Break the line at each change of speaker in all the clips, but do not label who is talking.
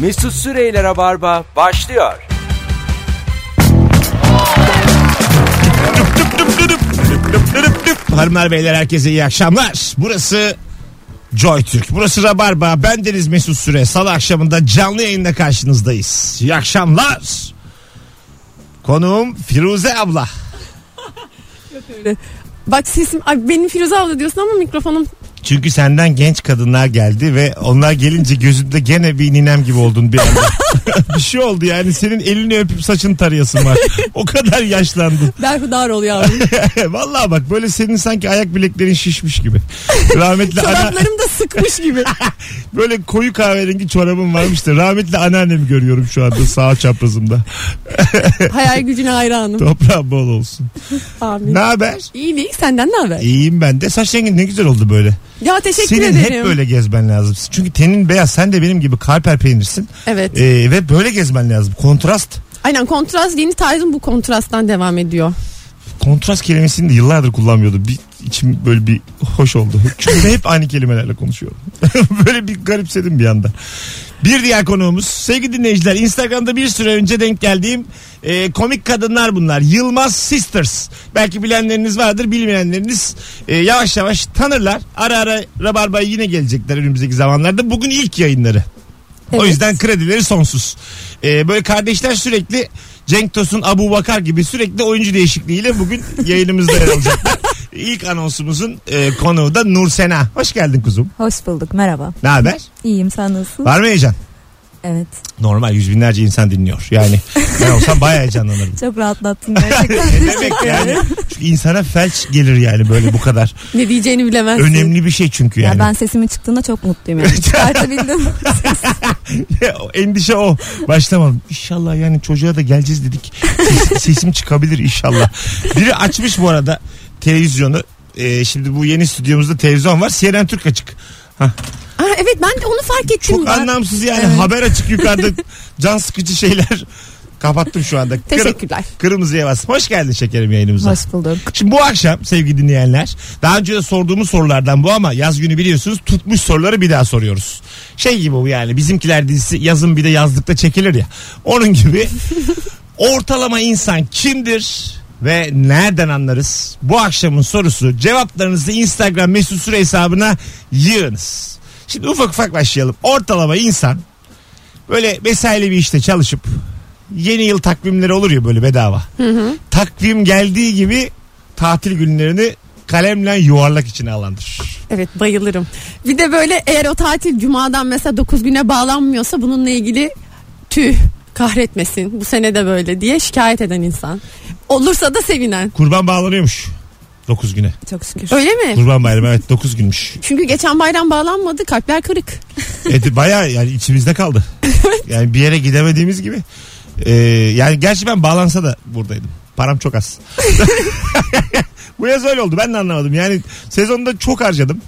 Mesut Süreyle Rabarba başlıyor.
Hanımlar beyler herkese iyi akşamlar. Burası Joy Türk. Burası Rabarba. Ben Deniz Mesut Süre. Salı akşamında canlı yayında karşınızdayız. İyi akşamlar. Konuğum Firuze abla.
Bak sesim ay benim Firuze abla diyorsun ama mikrofonum
Çünkü senden genç kadınlar geldi ve onlar gelince gözümde gene bir ninem gibi oldun bir anda. bir şey oldu yani senin elini öpüp saçını tarayasın var. O kadar yaşlandın.
berhudar oluyor yavrum.
Vallahi bak böyle senin sanki ayak bileklerin şişmiş gibi. Rahmetli ana,
Çoraplarım da sıkmış gibi.
Böyle koyu kahverengi çorabım varmıştı. Rahmetli anneannemi görüyorum şu anda sağ çaprazımda.
Hayal gücüne hayranım.
Toprağın bol olsun.
Amin.
Ne haber?
İyi değil senden ne haber?
İyiyim ben de. Saç rengin ne güzel oldu böyle.
Ya teşekkür
Senin
ederim.
hep böyle gezmen lazım. Çünkü tenin beyaz. Sen de benim gibi kalper peynirsin.
Evet.
Ee, ve böyle gezmen lazım. Kontrast.
Aynen kontrast yeni tarzım bu kontrasttan devam ediyor.
Kontrast kelimesini de yıllardır kullanmıyordum. Bir, içim böyle bir hoş oldu. Çünkü hep aynı kelimelerle konuşuyorum. böyle bir garipsedim bir anda. Bir diğer konuğumuz sevgili dinleyiciler Instagram'da bir süre önce denk geldiğim e, komik kadınlar bunlar. Yılmaz Sisters. Belki bilenleriniz vardır bilmeyenleriniz e, yavaş yavaş tanırlar. Ara ara Rabarba'ya yine gelecekler önümüzdeki zamanlarda. Bugün ilk yayınları. O
Evet.
yüzden kredileri sonsuz. Ee, böyle kardeşler sürekli Cenk Tosun, Abu Bakar gibi sürekli oyuncu değişikliğiyle bugün yayınımızda yer olacaklar. İlk anonsumuzun e, konuğu da Nur Sena. Hoş geldin kuzum.
Hoş bulduk merhaba.
Ne haber?
İyiyim sen nasılsın?
Var mı heyecan?
Evet
Normal yüz binlerce insan dinliyor. Yani ben olsam bayağı heyecanlanırım.
çok rahatlattın gerçekten.
Ne demek yani? Çünkü insana felç gelir yani böyle bu kadar.
Ne diyeceğini bilemezsin.
Önemli bir şey çünkü
Ya
yani.
ben sesimin çıktığında çok mutluyum yani. Çıkartabildim.
O Endişe o. Başlamam. İnşallah yani çocuğa da geleceğiz dedik. Ses- sesim çıkabilir inşallah. Biri açmış bu arada televizyonu. Ee, şimdi bu yeni stüdyomuzda televizyon var. CNN Türk açık.
Aa, evet ben de onu fark ettim.
Çok
bak.
anlamsız yani.
Evet.
Haber açık yukarıda can sıkıcı şeyler. Kapattım şu anda. Kır-
Teşekkürler.
kırmızıya bas. Hoş geldin şekerim yayınımıza.
Hoş bulduk.
Şimdi bu akşam sevgili dinleyenler daha önce de sorduğumuz sorulardan bu ama yaz günü biliyorsunuz tutmuş soruları bir daha soruyoruz. Şey gibi bu yani bizimkiler dizisi yazın bir de yazlıkta çekilir ya. Onun gibi ortalama insan kimdir ve nereden anlarız? Bu akşamın sorusu cevaplarınızı Instagram mesut süre hesabına yığınız. Şimdi ufak ufak başlayalım. Ortalama insan böyle mesaili bir işte çalışıp yeni yıl takvimleri olur ya böyle bedava. Takvim geldiği gibi tatil günlerini kalemle yuvarlak içine alandır.
Evet bayılırım. Bir de böyle eğer o tatil cumadan mesela 9 güne bağlanmıyorsa bununla ilgili tüh kahretmesin bu sene de böyle diye şikayet eden insan. Olursa da sevinen.
Kurban bağlanıyormuş 9 güne.
Çok şükür.
Öyle mi?
Kurban bayramı evet 9 günmüş.
Çünkü geçen bayram bağlanmadı kalpler kırık.
Evet, bayağı yani içimizde kaldı. Yani bir yere gidemediğimiz gibi. Ee, yani gerçi ben bağlansa da buradaydım. Param çok az. Bu yaz öyle oldu ben de anlamadım. Yani sezonda çok harcadım.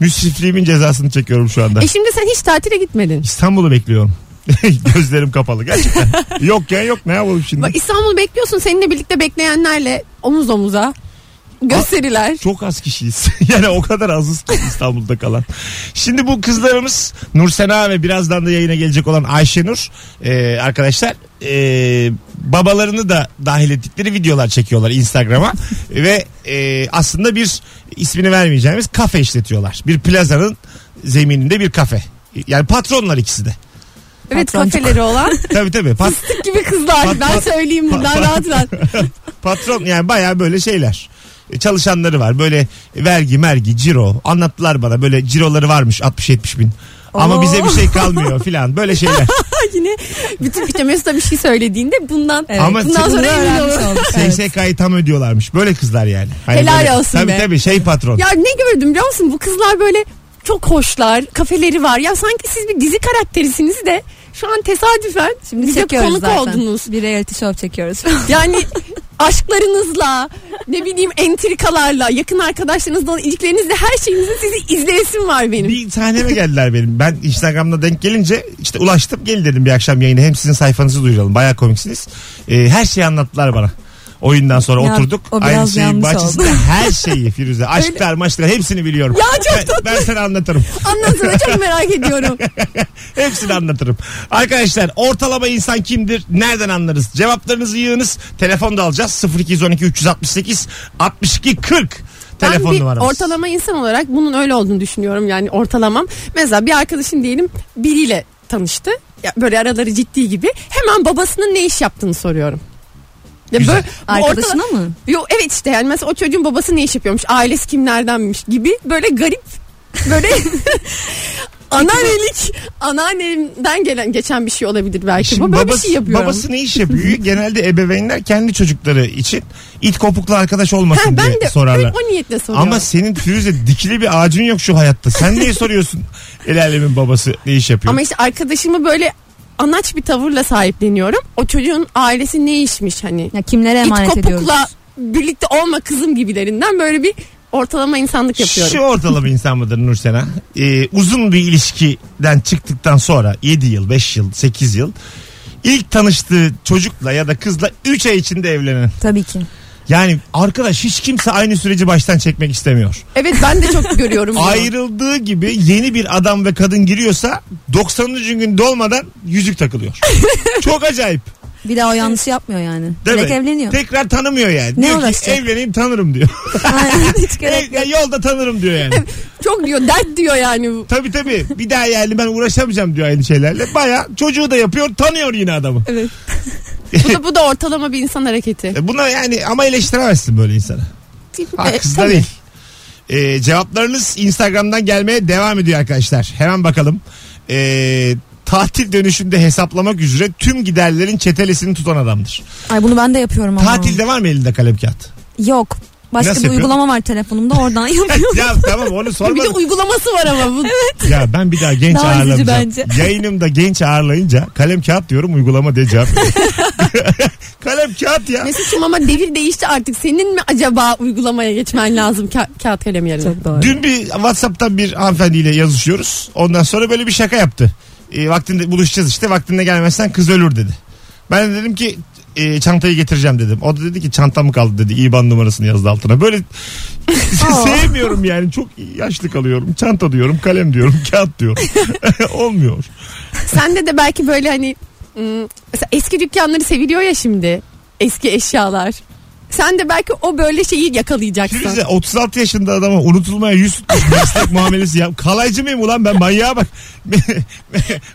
Müsrifliğimin cezasını çekiyorum şu anda.
E şimdi sen hiç tatile gitmedin.
İstanbul'u bekliyorum. Gözlerim kapalı gerçekten. yok ya yok ne yapalım şimdi.
Bak İstanbul'u bekliyorsun seninle birlikte bekleyenlerle omuz omuza gösteriler.
Çok az kişiyiz. yani o kadar azız ki İstanbul'da kalan. Şimdi bu kızlarımız Nursena ve birazdan da yayına gelecek olan Ayşenur e, arkadaşlar e, babalarını da dahil ettikleri videolar çekiyorlar Instagram'a ve e, aslında bir ismini vermeyeceğimiz kafe işletiyorlar. Bir plazanın zemininde bir kafe. Yani patronlar ikisi de.
Evet
Patron-
kafeleri olan
Tabii tabii. Pat,
gibi kızlar.
Pat-
Ben
pat-
söyleyeyim
pat-
buradan rahat rahat.
patron yani baya böyle şeyler. E, Çalışanları var böyle vergi mergi ciro anlattılar bana böyle ciroları varmış 60-70 bin. Ama
Oo.
bize bir şey kalmıyor filan böyle şeyler.
Yine bütün işte Mesut'a bir şey söylediğinde bundan
Evet.
Ama
bundan
sen-
sonra emin
öğrenmiş
olun.
olduk.
Şey,
Evet.
SSK'yı tam ödüyorlarmış böyle kızlar yani. Hani
Helal
böyle-
olsun
Tabii
be.
tabii şey patron.
Ya ne gördüm biliyor musun? Bu kızlar böyle çok hoşlar. Kafeleri var. Ya sanki siz bir dizi karakterisiniz de şu an tesadüfen
Şimdi
bize
çekiyoruz
konuk
zaten.
oldunuz.
Bir reality show çekiyoruz.
Yani aşklarınızla ne bileyim entrikalarla yakın arkadaşlarınızla olan ilişkilerinizle her şeyinizi sizi izleyesim var benim.
Bir sahneme geldiler benim. Ben Instagram'da denk gelince işte ulaştım gel dedim bir akşam yayına. Hem sizin sayfanızı duyuralım. Baya komiksiniz. Ee, her şeyi E, anlattılar bana. Oyundan sonra
Ya,
oturduk.
o biraz
Aynı şeyin
yanlış
bahçesinde
oldu.
her şeyi Firuze. Aşklar maçlar hepsini biliyorum.
Ya çok
Ben- Ben, sana anlatırım.
Anlatın çok merak ediyorum.
Hepsini anlatırım. Arkadaşlar ortalama insan kimdir? Nereden anlarız? Cevaplarınızı yığınız. Telefon da alacağız. 0212 368 62 40. Telefon
ben bir
numaramız.
ortalama insan olarak bunun öyle olduğunu düşünüyorum yani ortalamam. Mesela bir arkadaşım diyelim biriyle tanıştı. Ya böyle araları ciddi gibi. Hemen babasının ne iş yaptığını soruyorum. Ya
Güzel.
bu
Arkadaşına mı?
Yo evet işte yani mesela o çocuğun babası ne iş yapıyormuş, ailesi kimlerdenmiş gibi böyle garip böyle anneannelik anneannemden gelen geçen bir şey olabilir belki bu. Böyle bir şey yapıyorum.
babası ne iş yapıyor? Genelde ebeveynler kendi çocukları için it kopuklu arkadaş
Ha,
olmasın
ben
diye
de
sorarlar.
o niyetle soruyorum.
Ama senin Firuze dikili bir ağacın yok şu hayatta. Sen niye soruyorsun el alemin babası ne iş yapıyor?
Ama işte arkadaşımı böyle anaç bir tavırla sahipleniyorum. O çocuğun ailesi ne işmiş hani.
Ya kimlere
İt
emanet ediyoruz?
kopukla birlikte olma kızım gibilerinden böyle bir ortalama insanlık yapıyorum.
Şu ortalama insan mıdır Nursena? Ee, uzun bir ilişkiden çıktıktan sonra 7 yıl, 5 yıl, 8 yıl ilk tanıştığı çocukla ya da kızla 3 ay içinde evlenen.
Tabii ki.
Yani arkadaş hiç kimse aynı süreci baştan çekmek istemiyor.
Evet ben de çok görüyorum bunu.
Ayrıldığı gibi yeni bir adam ve kadın giriyorsa 90. gün dolmadan yüzük takılıyor. Çok acayip.
Bir daha o yanlışı yapmıyor yani.
Değil
Direkt
mi?
evleniyor.
Tekrar tanımıyor yani.
Ne
diyor ki
uğraşacak?
evleneyim tanırım diyor.
Aynen, Hiç gerek
Ev-
yok.
yolda tanırım diyor yani.
Çok diyor dert diyor yani. bu.
Tabii tabii. Bir daha yani ben uğraşamayacağım diyor aynı şeylerle. Baya çocuğu da yapıyor tanıyor yine adamı.
Evet.
Bu da, bu da ortalama bir insan hareketi.
E Buna yani ama eleştiremezsin böyle insana. Haksız da
tabii.
değil. E, cevaplarınız Instagram'dan gelmeye devam ediyor arkadaşlar. Hemen bakalım. E, tatil dönüşünde hesaplamak üzere tüm giderlerin çetelesini tutan adamdır.
Ay bunu ben de yapıyorum ama.
Tatilde var mı elinde kalem kağıt?
Yok. Başka
Nasıl
bir
yapıyor?
uygulama var telefonumda oradan yapıyorum.
ya tamam onu
Bir de
sormadım.
uygulaması var ama. Bu.
ya ben bir daha genç
Daha üzücü
ağırlamayacağım.
bence.
Yayınımda genç ağırlayınca kalem kağıt diyorum uygulama diye cevap veriyor. kalem kağıt ya.
Mesut'cum ama devir değişti artık. Senin mi acaba uygulamaya geçmen lazım ka- kağıt kalem yerine?
Çok doğru.
Dün bir WhatsApp'tan bir hanımefendiyle yazışıyoruz. Ondan sonra böyle bir şaka yaptı. E, vaktinde buluşacağız işte. Vaktinde gelmezsen kız ölür dedi. Ben de dedim ki e, çantayı getireceğim dedim. O da dedi ki çantam kaldı dedi. İban numarasını yazdı altına. Böyle sevmiyorum yani. Çok yaşlı kalıyorum. Çanta diyorum, kalem diyorum, kağıt diyorum. Olmuyor.
Sende de belki böyle hani ım, mesela eski dükkanları seviliyor ya şimdi. Eski eşyalar. Sen de belki o böyle şeyi yakalayacaksın.
Firuze 36 yaşında adama unutulmaya yüz tutmuş meslek muamelesi yap. Kalaycı mıyım ulan ben manyağa bak.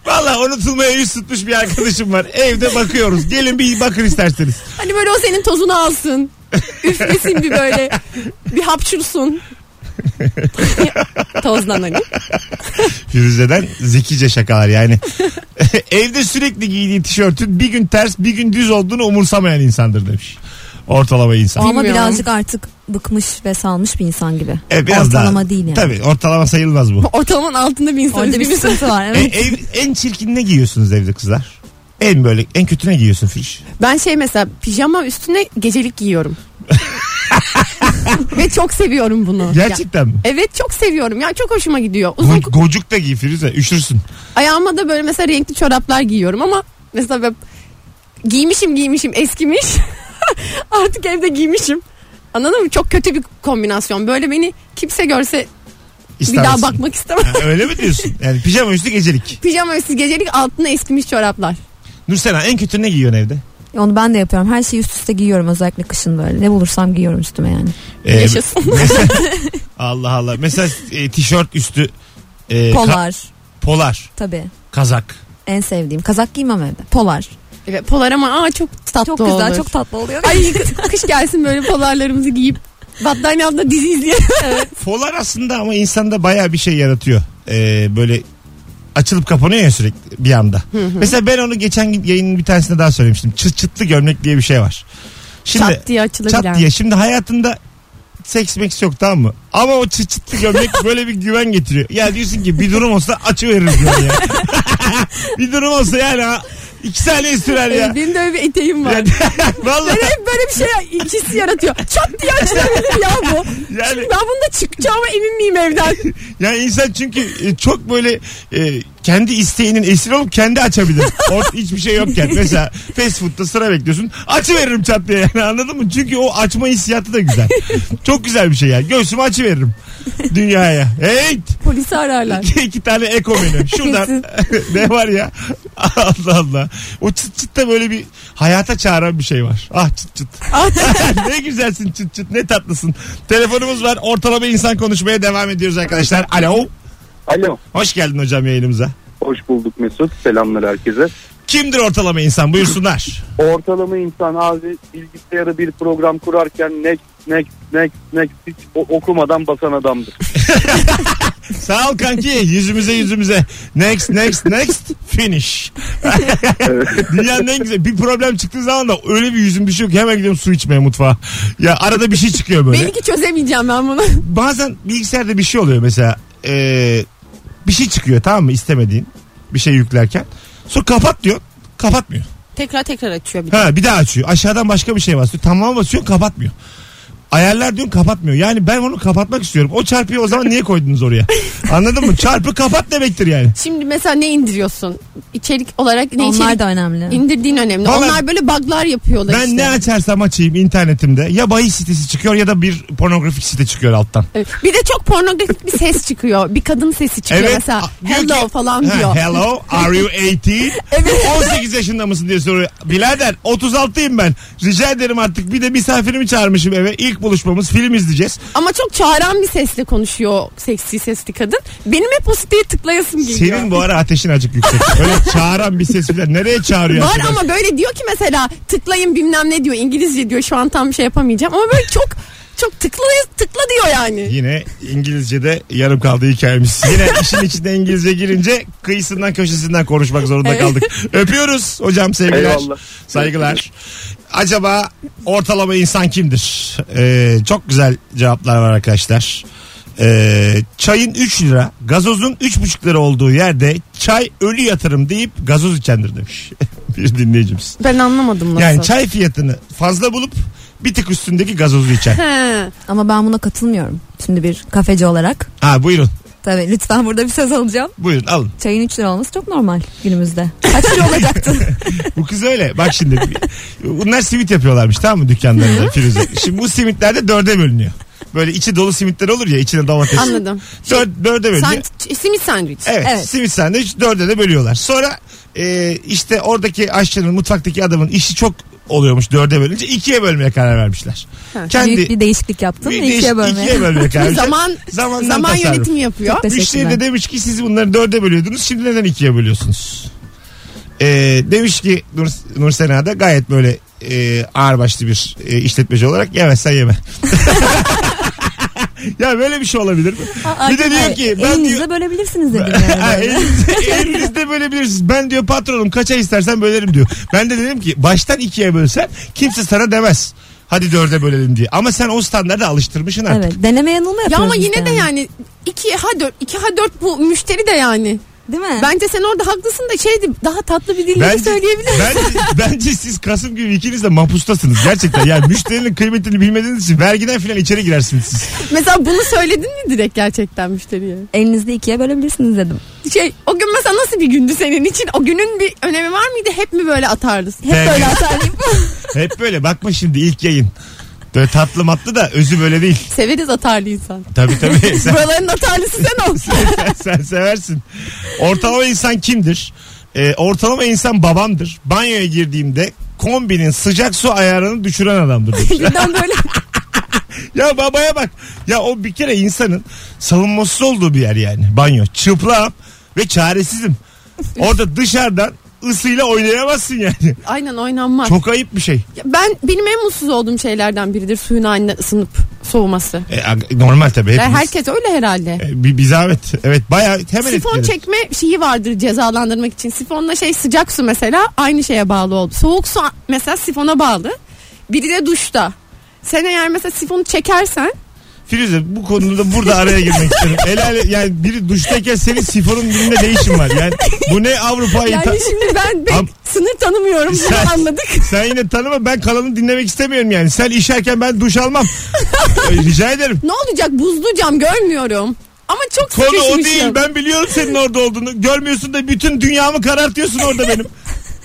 Valla unutulmaya yüz tutmuş bir arkadaşım var. Evde bakıyoruz. Gelin bir bakın isterseniz.
Hani böyle o senin tozunu alsın. Üflesin bir böyle. Bir hapşursun. Tozdan hani.
Firuze'den zekice şakalar yani. Evde sürekli giydiği tişörtün bir gün ters bir gün düz olduğunu umursamayan insandır demiş. Ortalama insan.
Ama
Bilmiyorum.
birazcık artık bıkmış ve salmış bir insan gibi.
E, biraz
Ortalama
daha-
değil yani.
Tabii ortalama sayılmaz bu.
Ortalamanın altında bir insan.
Orada bir sıkıntı var.
E,
Evet.
ev, en çirkin ne giyiyorsunuz evde kızlar? En böyle en kötü ne giyiyorsun Firuze?
Ben şey mesela pijama üstüne gecelik giyiyorum. Ve çok seviyorum bunu. Ya-
Gerçekten mi?
Evet çok seviyorum. Ya çok hoşuma gidiyor. Uzun
Go- gocuk da giy Firuze üşürsün.
ayağıma da böyle mesela renkli çoraplar giyiyorum ama mesela böyle giymişim giymişim eskimiş. Artık evde giymişim. Anladın mı? Çok kötü bir kombinasyon. Böyle beni kimse görse bir daha
İstemezsin.
bakmak istemem.
Ha, öyle mi diyorsun? Yani pijama üstü gecelik.
Pijama üstü gecelik altına eskimiş çoraplar.
Nursena en kötü ne giyiyorsun evde?
Onu ben de yapıyorum. Her şeyi üst üste giyiyorum özellikle kışın böyle. Ne bulursam giyiyorum üstüme yani.
Ee,
Yaşasın.
mesela- Allah Allah. Mesela e, tişört üstü e, ka-
Polar
polar,
tabii.
kazak.
En sevdiğim. Kazak giymem evde. Polar.
Evet, polar ama aa çok tatlı
Çok güzel,
olur.
çok tatlı oluyor.
Ay kış gelsin böyle polarlarımızı giyip battaniye altında dizi izleyelim.
Polar aslında ama insanda baya bir şey yaratıyor. Ee, böyle açılıp kapanıyor ya sürekli bir anda. Mesela ben onu geçen gün yayının bir tanesinde daha söylemiştim. Çıt çıtlı gömlek diye bir şey var. Şimdi
Çat diye açılabilen.
Çat diye. Şimdi hayatında seks meks yok tamam mı? Ama o çıt çıtlı gömlek böyle bir güven getiriyor. Ya diyorsun ki bir durum olsa açıveririz diyor ya. bir durum olsa yani ha, İki saniye sürer ya.
Ee, benim de öyle bir eteğim var.
yani, vallahi
Ben hep böyle bir şey ikisi yaratıyor. Çat diye açılabilir ya bu.
Yani-
Şimdi ben bunda çıkacağıma emin miyim evden?
yani insan çünkü e, çok böyle e, kendi isteğinin esiri olup kendi açabilir. Ort hiçbir şey yokken. Mesela fast food'da sıra bekliyorsun. Açı veririm çat diye yani anladın mı? Çünkü o açma hissiyatı da güzel. çok güzel bir şey yani. Göğsümü açı veririm dünyaya. Evet.
Polisi ararlar.
iki tane eko benim. Şuradan ne var ya? Allah Allah. O çıt çıt da böyle bir hayata çağıran bir şey var. Ah çıt çıt. ne güzelsin çıt çıt ne tatlısın. Telefonumuz var. Ortalama insan konuşmaya devam ediyoruz arkadaşlar. Alo.
Alo.
Hoş geldin hocam yayınımıza.
Hoş bulduk Mesut. Selamlar herkese.
Kimdir ortalama insan? Buyursunlar.
Ortalama insan abi bilgisayara bir program kurarken next next next next hiç o- okumadan basan adamdır.
Sağ ol kanki. Yüzümüze yüzümüze. Next next next finish. Dünyanın en güzel. Bir problem çıktığı zaman da öyle bir yüzüm düşüyor ki hemen gidiyorum su içmeye mutfağa. Ya arada bir şey çıkıyor böyle.
Belki çözemeyeceğim ben bunu.
bazen bilgisayarda bir şey oluyor mesela Ee, bir şey çıkıyor tamam mı istemediğin bir şey yüklerken sonra kapat diyor kapatmıyor
tekrar tekrar açıyor bir de.
ha bir daha açıyor aşağıdan başka bir şey basıyor tamam basıyor kapatmıyor ayarlar diyorsun kapatmıyor yani ben onu kapatmak istiyorum o çarpıyı o zaman niye koydunuz oraya anladın mı çarpı kapat demektir yani
Şimdi mesela ne indiriyorsun? İçerik olarak ne
Onlar
içerik
da önemli.
indirdiğin önemli.
Vallahi-
Onlar böyle bug'lar yapıyorlar
ben
işte.
ne açarsam açayım internetimde ya bahis sitesi çıkıyor ya da bir pornografik site çıkıyor alttan
Evet. Bir de çok pornografik bir ses çıkıyor. Bir kadın sesi çıkıyor mesela.
a- diyor
Hello
ki-
falan
Ha,
diyor.
Hello are you 18?
Evet.
18 yaşında mısın diye soruyor. Birader 36'yım ben. Rica ederim artık bir de misafirimi çağırmışım eve. İlk buluşmamız film izleyeceğiz.
Ama çok çağıran bir sesle konuşuyor seksi sesli kadın. Benim hep o siteye tıklayasım geliyor.
Senin bu ara ateşin acık yüksek. Öyle çağıran bir ses falan. Nereye çağırıyor?
Var
arkadaş?
ama böyle diyor ki mesela tıklayın bilmem ne diyor. İngilizce diyor şu an tam şey yapamayacağım. Ama böyle çok çok tıkla, tıkla diyor yani.
Yine İngilizce'de yarım kaldı hikayemiz. Yine işin içinde İngilizce girince kıyısından köşesinden konuşmak zorunda kaldık. Öpüyoruz hocam sevgiler.
Eyvallah.
Saygılar. Acaba ortalama insan kimdir? Ee, çok güzel cevaplar var arkadaşlar. Ee, çayın 3 lira, gazozun 3,5 lira olduğu yerde çay ölü yatırım deyip gazoz içendir demiş bir dinleyicimiz.
Ben anlamadım nasıl.
Yani çay fiyatını fazla bulup bir tık üstündeki gazozu içen.
He.
Ama ben buna katılmıyorum. Şimdi bir kafeci olarak.
Ha buyurun.
Tabii lütfen burada bir söz alacağım.
Buyurun alın.
Çayın 3 lira olması çok normal günümüzde. Kaç lira olacaktı?
Bu kız öyle. Bak şimdi. Bunlar simit yapıyorlarmış tamam mı dükkanlarında Firuze. Şimdi bu simitler de dörde bölünüyor. Böyle içi dolu simitler olur ya içine domates.
Anladım.
Dör, dörde bölünüyor.
Sand, simit sandviç.
Evet,
Evet.
simit sandviç dörde de bölüyorlar. Sonra e, işte oradaki aşçının mutfaktaki adamın işi çok oluyormuş dörde bölünce ikiye bölmeye karar vermişler. Kendi
Büyük bir değişiklik yaptım.
bir
İkiye
değiş-
bölmeye.
ikiye bölmeye karar vermişler.
Zaman
Zamandan
zaman
tasarruf.
yönetimi yapıyor.
Çok da-
Müşteri de
Teşekkürler.
demiş ki siz bunları dörde bölüyordunuz şimdi neden ikiye bölüyorsunuz? Ee, demiş ki Nur, Nur Sena da gayet böyle e, ağırbaşlı bir e, işletmeci olarak yemezsen yeme. ya böyle bir şey olabilir mi?
Aa,
Bir de diyor ki, ben
elinizle
diyor-
bölebilirsiniz dedim.
Ha,
Yani.
elinizde, elinizde bölebilirsiniz. Ben diyor patronum kaça istersen bölerim diyor. Ben de dedim ki baştan ikiye bölsen kimse sana demez. Hadi dörde bölelim diye. Ama sen o standarda alıştırmışsın artık.
evet deneme yanılma
Ya
yapıyoruz
ama
biz
yine de yani 2 ha 4 2 ha 4 bu müşteri de yani.
Değil mi?
Bence sen orada haklısın da şeydi daha tatlı bir dille de söyleyebilir.
Bence, bence siz Kasım gibi ikiniz de mahpustasınız gerçekten. Yani müşterinin kıymetini bilmediğiniz için vergiden filan içeri girersiniz siz.
Mesela bunu söyledin mi direkt gerçekten müşteriye?
Elinizde ikiye bölebilirsiniz dedim.
Şey o gün mesela nasıl bir gündü senin için? O günün bir önemi var mıydı? Hep mi böyle atardın?
Hep
Ben-
böyle atarlayıp.
Hep böyle bakma şimdi ilk yayın. Böyle tatlı matlı da özü böyle değil.
Severiz atarlı insan.
Tabii tabii sen,
Buraların atarlısı sen ol.
sen, sen seversin. Ortalama insan kimdir? Ee, ortalama insan babamdır. Banyoya girdiğimde kombinin sıcak su ayarını düşüren adamdır. demiş.
Birden böyle
ya babaya bak. Ya o bir kere insanın savunmasız olduğu bir yer yani. Banyo. Çıplağım ve çaresizim. Orada dışarıdan ısıyla oynayamazsın yani.
Aynen oynanmaz.
Çok ayıp bir şey.
Ya Ben benim en mutsuz olduğum şeylerden biridir suyun haline ısınıp soğuması.
E, a- normal tabii
Ya
hepimiz.
herkes öyle herhalde.
E, bir, bir zahmet. Evet bayağı hemen
Sifon
etkilenir.
çekme şeyi vardır cezalandırmak için. Sifonla şey sıcak su mesela aynı şeye bağlı oldu. Soğuk su mesela sifona bağlı. Biri de duşta. Sen eğer mesela sifonu çekersen
Firuze bu konuda burada araya girmek isterim. Helal yani biri duştayken senin sifonun birinde ne işin var? Yani bu ne Avrupa'yı E, ta-
Yani şimdi ben pek
Am-
sınır tanımıyorum. Bunu
Sen-
anladık.
sen yine tanıma ben kalanını dinlemek istemiyorum yani. Sen işerken ben duş almam. Ay, Rica ederim.
Ne olacak buzlu cam görmüyorum. Ama çok
Konu o
sıkışmışım.
değil. Ben biliyorum senin orada olduğunu. Görmüyorsun da bütün dünyamı karartıyorsun orada benim.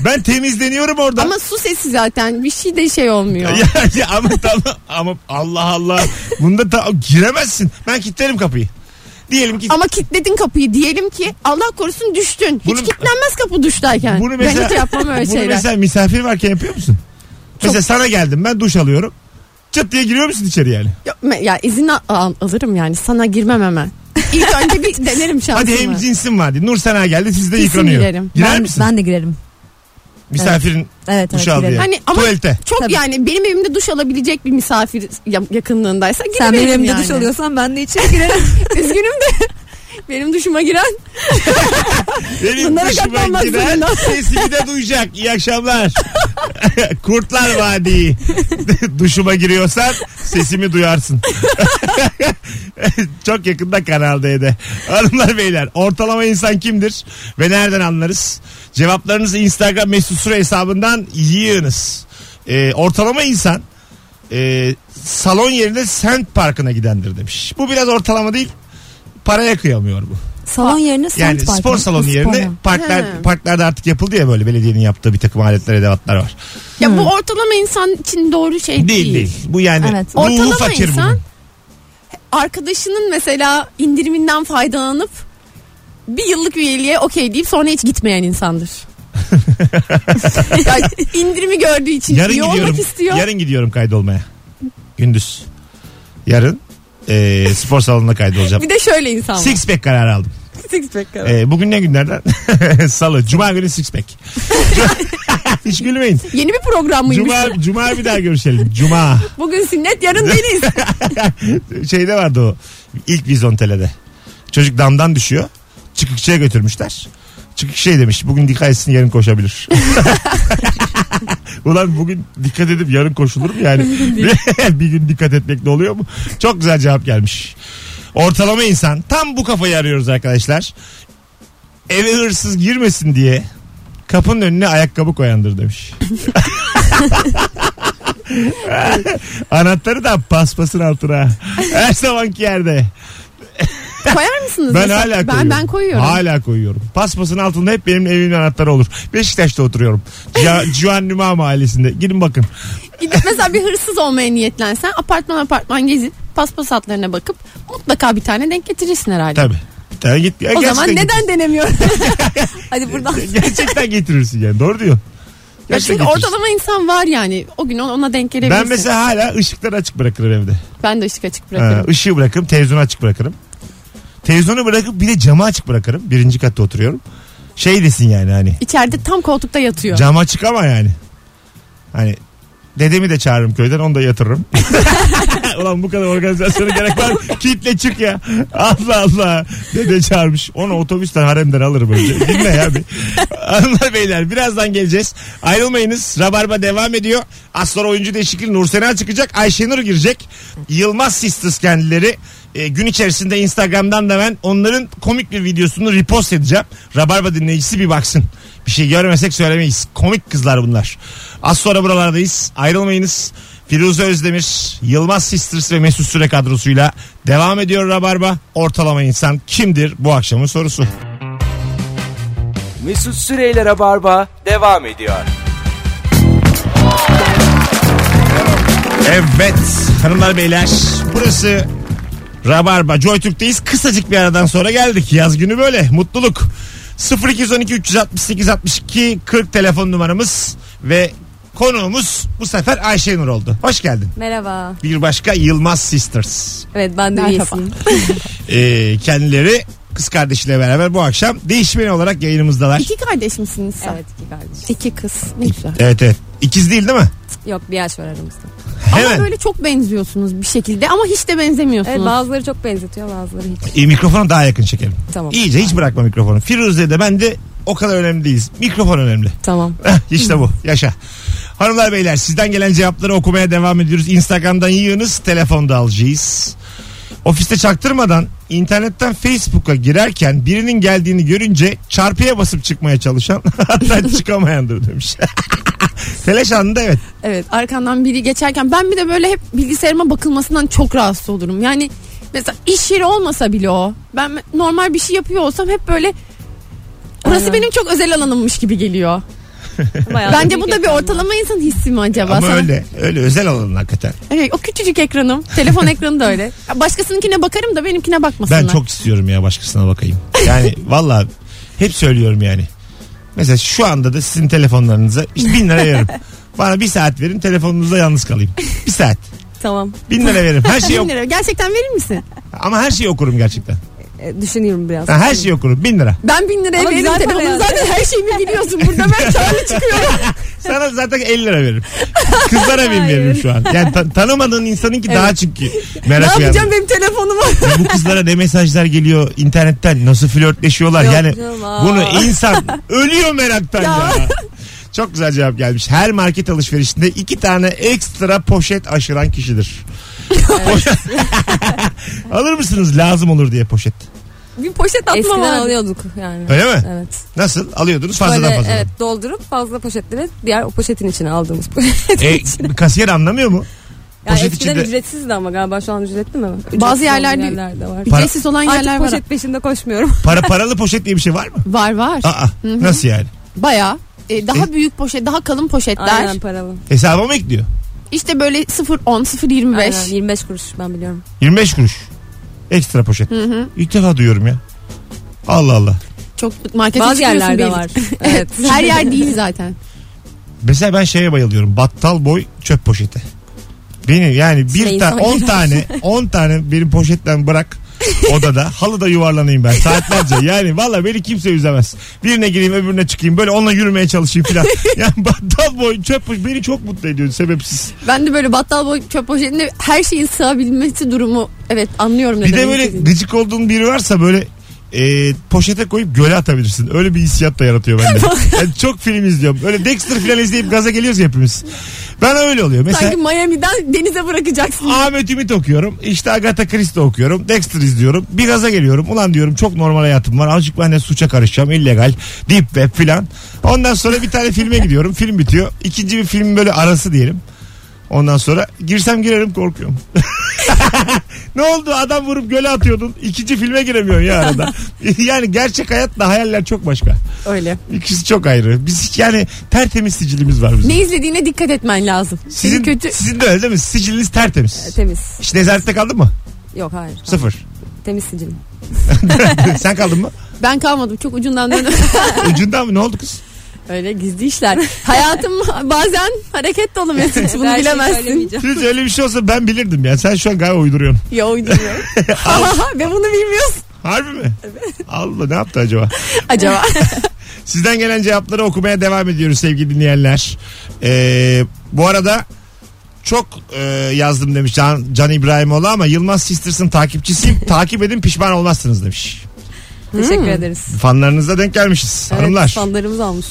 Ben temizleniyorum orada.
Ama su sesi zaten bir şey de şey olmuyor.
Ya, ya ama tamam ama Allah Allah. Bunda ta- giremezsin. Ben kilitlerim kapıyı. Diyelim ki
Ama kilitledin kapıyı diyelim ki Allah korusun düştün.
Bunu-
hiç kilitlenmez kapı duştayken.
bunu mesela,
ben hiç yapmam öyle
bunu
şeyler.
mesela misafir varken yapıyor musun? Mesela sana geldim ben duş alıyorum. Çıt diye giriyor musun içeri yani?
Ya, me- ya izin al- al- alırım yani sana girmem hemen. İlk önce bir denerim şansımı.
Hadi hem cinsin var diye. Nur Sena geldi sizde
Kesin
yıkanıyor.
girerim.
Girer
ben,
misin?
ben de girerim.
Misafirin
Evet evet
duş aldı
girerim.
yani.
Hani ama-
Tuvalete.
Çok
Tabii.
yani benim evimde duş alabilecek bir misafir ya- yakınlığındaysa
Sen
girerim
benim evimde
yani.
duş alıyorsan ben de içeri girerim.
Üzgünüm de benim duşuma giren
Benim
Bunlara
dışıma
katlanmak
giren
zorunda.
sesimi de duyacak. İyi akşamlar. Kurtlar Vadii. Duşuma giriyorsan sesimi duyarsın. Çok yakında Kanal D'de. Hanımlar beyler ortalama insan kimdir ve nereden anlarız? Cevaplarınızı Instagram mesut süre hesabından yığınız. Ee, ortalama insan e, salon yerine semt parkına gidendir demiş. Bu biraz ortalama değil. Paraya kıyamıyor bu.
Salon yerine semt
Yani
parkı.
spor salonu
Spor
yerine
mu?
parklar
He.
parklarda artık yapıldı ya böyle belediyenin yaptığı bir takım aletler edevatlar var.
ya bu ortalama insan için doğru
Değil
şey değil.
değil. Bu yani
Evet.
ruhu
Ortalama
fakir
insan-
bunun.
Arkadaşının mesela indiriminden faydalanıp bir yıllık üyeliğe okey deyip sonra hiç gitmeyen insandır. ya indirimi gördüğü için
Yarın
iyi
gidiyorum.
olmak istiyor.
Yarın gidiyorum kaydolmaya. Gündüz. Yarın eee, spor salonuna kaydolacağım.
Bir de şöyle insan var.
Six pack kararı aldım.
Six pack kadar.
Eee, bugün ne günlerden? Salı. Cuma günü six pack. Hiç gülmeyin.
Yeni bir program mıymış?
Cuma, Cuma bir daha görüşelim. Cuma.
Bugün sünnet yarın deniz.
şeyde Şey vardı o ilk vizontelede. Çocuk damdan düşüyor. Çıkıkçıya götürmüşler. Çıkık şey demiş bugün dikkat etsin yarın koşabilir. Ulan bugün dikkat edip yarın koşulur mu yani? bir gün dikkat etmek de oluyor mu? Çok güzel cevap gelmiş. Ortalama insan. Tam bu kafayı arıyoruz arkadaşlar. Eve hırsız girmesin diye kapının önüne ayakkabı koyandır demiş. Anahtarı da paspasın altına. Her zamanki yerde.
Koyar mısınız?
Ben
mesela?
hala koyuyorum.
Ben, ben koyuyorum.
Hala koyuyorum. Paspasın altında hep benim evimin anahtarı olur. Beşiktaş'ta oturuyorum. Cihan Cihan Numa mahallesinde. Gidin bakın.
Gidip mesela bir hırsız olmaya niyetlensen apartman apartman gezip paspas hatlarına bakıp mutlaka bir tane denk getirirsin herhalde.
Tabii. Bir tane git. Ya
O
gerçekten
zaman
git.
neden denemiyorum?
Hadi buradan.
Gerçekten getirirsin yani. Doğru diyor.
Ya
Gerçekten
çünkü
getirirsin.
ortalama insan var yani. O gün ona- ona denk gelebilirsin.
Ben mesela hala ışıkları açık bırakırım evde.
Ben de ışık açık
Ha,
bırakırım.
ışığı bırakırım, televizyonu açık bırakırım. Televizyonu bırakıp bir de camı açık bırakırım. Birinci katta oturuyorum. Şey desin yani hani.
İçeride tam koltukta yatıyor.
Cam açık ama yani. Hani dedemi de çağırırım köyden onu da yatırırım. Ulan bu kadar organizasyona gerek var. mı? Kitle çık ya. Allah Allah. Dede çağırmış. Onu otobüsten haremden alırım önce. Dinle ya bir. Hanımlar beyler birazdan geleceğiz. Ayrılmayınız. Rabarba devam ediyor. Az sonra oyuncu değişikliği Nursena çıkacak. Ayşenur girecek. Yılmaz Sisters kendileri. E, gün içerisinde Instagram'dan da ben onların komik bir videosunu repost edeceğim. Rabarba dinleyicisi bir baksın. Bir şey görmesek söylemeyiz. Komik kızlar bunlar. Az sonra buralardayız. Ayrılmayınız. Firuze Özdemir, Yılmaz Sisters ve Mesut Süre kadrosuyla devam ediyor Rabarba. Ortalama insan kimdir bu akşamın sorusu.
Mesut Süreyler'e barba devam ediyor.
Evet hanımlar beyler burası Rabarba Joytürk'teyiz. Kısacık bir aradan sonra geldik. Yaz günü böyle mutluluk. 0212 368 62 40 telefon numaramız ve konuğumuz bu sefer Ayşenur oldu. Hoş geldin.
Merhaba.
Bir başka Yılmaz Sisters.
Evet ben de
Merhaba.
üyesiyim.
Ee, kendileri kız kardeşiyle beraber bu akşam değişmeni olarak yayınımızdalar.
İki kardeş misiniz sen?
evet iki kardeş.
İki kız. Ne güzel.
Evet evet. İkiz değil değil mi?
Yok bir yaş var aramızda.
Ama
Hemen.
böyle çok benziyorsunuz bir şekilde ama hiç de
Evet
benzemiyorsunuz.
bazıları çok benzetiyor bazıları hiç.
E, mikrofonu daha yakın çekelim.
Tamam.
İyice hiç bırakma mikrofonu. Firuze de ben de o kadar önemli değiliz. Mikrofon önemli.
Tamam.
işte bu. Yaşa. Hanımlar beyler sizden gelen cevapları okumaya devam ediyoruz. Instagram'dan yığınız. Telefonda alacağız. Ofiste çaktırmadan internetten Facebook'a girerken birinin geldiğini görünce çarpıya basıp çıkmaya çalışan hatta çıkamayandır demiş. Telaş anında evet.
Evet arkandan biri geçerken ben bir de böyle hep bilgisayarıma bakılmasından çok rahatsız olurum. Yani mesela iş yeri olmasa bile o. Ben normal bir şey yapıyor olsam hep böyle Burası
Aynen.
benim çok özel alanımmış gibi geliyor.
Bayağı
Bence
büyük
bu da bir
ekran.
ortalama insan hissi mi acaba?
Ama
Sana-
öyle. Öyle özel alanın hakikaten.
Evet, o küçücük ekranım. Telefon ekranı da öyle. Ya Başkasınınkine bakarım da benimkine bakmasınlar.
Ben çok istiyorum ya başkasına bakayım. Yani valla hep söylüyorum yani. Mesela şu anda da sizin telefonlarınıza işte bin lira veririm. Bana bir saat verin telefonunuzda yalnız kalayım. Bir saat.
Tamam.
Bin lira veririm. Her şeyi
Bin
ok-
lira. Gerçekten verir misin?
ama her şeyi okurum gerçekten.
E, düşünüyorum biraz.
Ha, her şeyi okurum. Bin lira.
Ben bin liraya
Ama
veririm
güzel para
telefonu.
yani.
Zaten her şeyimi biliyorsun burada. Ben karlı çıkıyorum.
Sana zaten 50 lira veririm. Kızlara bin veririm şu an. Yani ta- tanımadığın insanınki daha çünkü
ne
merak
yapacağım
uyandı.
benim telefonuma?
Bu kızlara ne mesajlar geliyor internetten nasıl flörtleşiyorlar
Yok
yani
canım, aa.
bunu insan ölüyor meraktan ya. Çok güzel cevap gelmiş. Her market alışverişinde iki tane ekstra poşet aşıran kişidir. Alır mısınız lazım olur diye poşet.
bir poşet atma
Eskiden
vardı.
alıyorduk yani.
Öyle mi?
Evet.
Nasıl alıyordunuz fazladan
Böyle,
fazla.
Evet doldurup fazla poşetleri diğer o poşetin içine aldığımız poşet.
E, kasiyer anlamıyor mu?
yani
poşet
eskiden
içinde-
ücretsizdi ama galiba şu an ücretli mi? Ücretsiz
Bazı
olan
yerlerde-
yerler de var.
Para-
Ücretsiz olan yerler
Artık
var.
poşet peşinde koşmuyorum.
Para paralı poşet diye bir şey var mı?
Var var.
Aa nasıl yani?
Baya. daha
E-
büyük poşet, daha kalın poşetler.
Aynen paralı.
Hesaba mı ekliyor?
İşte böyle 0.10, 0.25.
Aynen, 25 kuruş ben biliyorum.
25 kuruş. Ekstra poşet. İlk defa duyuyorum ya. Allah Allah.
Çok markete
Bazı
çıkıyorsun
yerlerde
belli.
var.
Evet. Her yer değil zaten.
Mesela ben şeye bayılıyorum. Battal boy çöp poşeti. Benim yani bir
Size
tane
insana
10
gelir.
tane 10 tane benim poşetten bırak odada halıda yuvarlanayım ben saatlerce yani valla beni kimse üzemez birine gireyim öbürüne çıkayım böyle onunla yürümeye çalışayım filan yani battal boy çöp poşeti beni çok mutlu ediyor sebepsiz
Ben de böyle battal boy çöp poşetinde her şeyin sığabilmesi durumu. Evet anlıyorum
bir
neden.
de böyle gıcık olduğun biri varsa böyle e, poşete koyup göle atabilirsin öyle bir hissiyat da yaratıyor bende Yani çok film izliyorum öyle Dexter filan izleyip gaza geliyoruz ya hepimiz ben öyle oluyor mesela
Sanki Miami'den denize bırakacaksın.
Ahmet Ümit okuyorum. İşte Agatha Christie okuyorum. Dexter izliyorum. Bir gaza geliyorum. Ulan diyorum çok normal hayatım var. Azıcık ben de suça karışacağım. illegal. Deep web filan. Ondan sonra bir tane filme gidiyorum. Film bitiyor. İkinci bir film böyle arası diyelim. Ondan sonra girsem girerim korkuyorum. ne oldu adam vurup göle atıyordun. İkinci filme giremiyorsun ya arada. yani gerçek hayatla hayaller çok başka.
Öyle.
İkisi çok ayrı. Biz hiç yani tertemiz sicilimiz var bizim.
Ne izlediğine dikkat etmen lazım.
Sizin,
Seni kötü
sizin de öyle değil mi? Siciliniz tertemiz.
Temiz.
Hiç nezarette kaldın mı?
Yok hayır.
Sıfır.
Temiz sicilim.
Sen kaldın mı?
ben kalmadım çok ucundan döndüm.
Ucundan mı? Ne oldu kız?
Öyle gizli işler. Hayatım bazen hareket dolu Mesut bunu
Her şeyi
bilemezsin.
söylemeyeceğim.
Siz öyle bir şey olsa ben bilirdim ya. Sen şu an galiba uyduruyorsun.
Ya uyduruyor. Ve bunu bilmiyorsun
Harbi mi? Evet. Allah ne yaptı acaba?
acaba.
Sizden gelen cevapları okumaya devam ediyoruz sevgili dinleyenler. Ee, bu arada çok e, yazdım demiş Can, Can İbrahimoğlu ama Yılmaz Sisters'ın takipçisiyim. Takip edin pişman olmazsınız demiş.
Hmm.
Teşekkür ederiz.
Fanlarınıza denk gelmişiz hanımlar.
Evet, fanlarımız almış.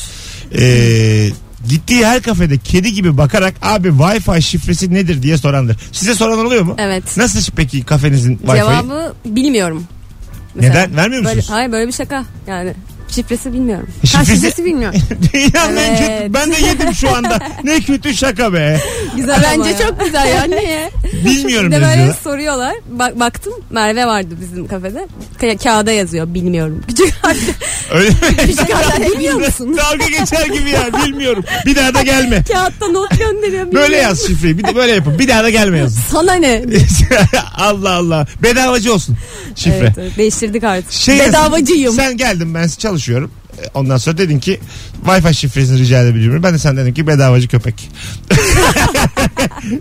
Ee, gittiği her kafede kedi gibi bakarak abi Wi-Fi şifresi nedir diye sorandır. Size soran oluyor mu?
Evet.
Nasıl peki kafenizin Wi-Fi'yi?
Cevabı bilmiyorum. Mesela.
Neden? Vermiyor
Böyle,
musunuz?
hayır böyle bir şaka. Yani şifresi bilmiyorum.
Şifresi...
Karşıcısı bilmiyor.
Dünyanın en
Evet.
kötü. Ben de yedim şu anda. Ne kötü şaka be.
Güzel ama
Bence
ya.
çok güzel ya. Niye?
Bilmiyorum
Bir de böyle
yazıyorlar.
soruyorlar. Bak, baktım Merve vardı bizim kafede. Ka- kağıda yazıyor bilmiyorum. Küçük harfle.
Öyle mi?
Küçük harfle şey bilmiyor musun?
Dalga geçer gibi ya. Bilmiyorum. Bir daha da gelme.
Kağıtta not gönderiyor.
Böyle
bilmiyorum.
yaz şifreyi. Bir de böyle yapın. Bir daha da gelme yazın.
Sana ne?
Allah Allah. Bedavacı olsun şifre.
Evet, evet, değiştirdik artık.
Şey
Bedavacıyım.
Sen geldin ben çalışıyorum. E, Ondan sonra dedin ki Wi-Fi şifresini rica edebilir miyim? Ben de sen dedim ki bedavacı köpek.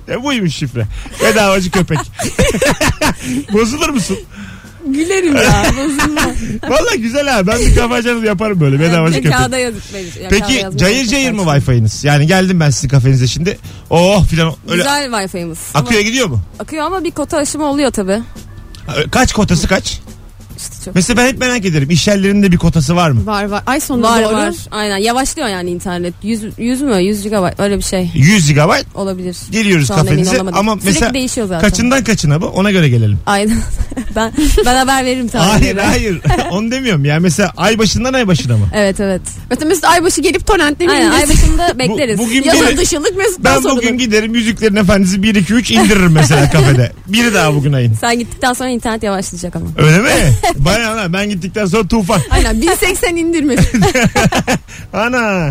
e, buymuş şifre. Bedavacı köpek. Bozulur musun?
Gülerim ya. Bozulma.
Valla güzel ha. Ben bir kafacanız yaparım böyle bedavacı
Bir de
köpek.
kağıda yazıp verir. Ya, kağıda
Peki
yazmak
cayır
çok
cayır mı
saçma.
Wi-Fi'niz? Yani geldim ben sizin kafenize şimdi. Oh filan öyle
Güzel Wi-Fi'miz.
akıyor gidiyor mu?
Ama, akıyor ama bir kota aşımı oluyor tabii.
Kaç kotası kaç?
İşte çok.
Mesela ben hep merak ederim. İş yerlerinde bir kotası var mı?
Var var. Ay sonunda
Var
doğru.
var. Aynen yavaşlıyor yani internet. 100, 100 mü? 100 GB öyle bir şey
100 GB
olabilir.
geliyoruz
Şu an emin
kafenize
olamadım.
ama
Sürekli
mesela
değişiyor zaten.
kaçından kaçına bu ona göre gelelim.
Aynen. ben ben haber veririm tabii.
Hayır hayır onu demiyorum ya mesela ay başından ay başına mı?
Evet evet.
Mesela Mesut Aybaşı gelip torrentlerini
Aynen ay
indirsin.
başında bekleriz.
bugün
Ya-
biri-
Yazın dışılık Mesut'tan
Ben
sorulur.
bugün giderim Yüzüklerin Efendisi 1 2 3 indiririm mesela kafede. Biri daha bugün ayın.
Sen gittikten sonra internet yavaşlayacak ama.
Öyle mi? Bana ana ben gittikten sonra tufan.
Aynen 1080 indirmesin.
Ana.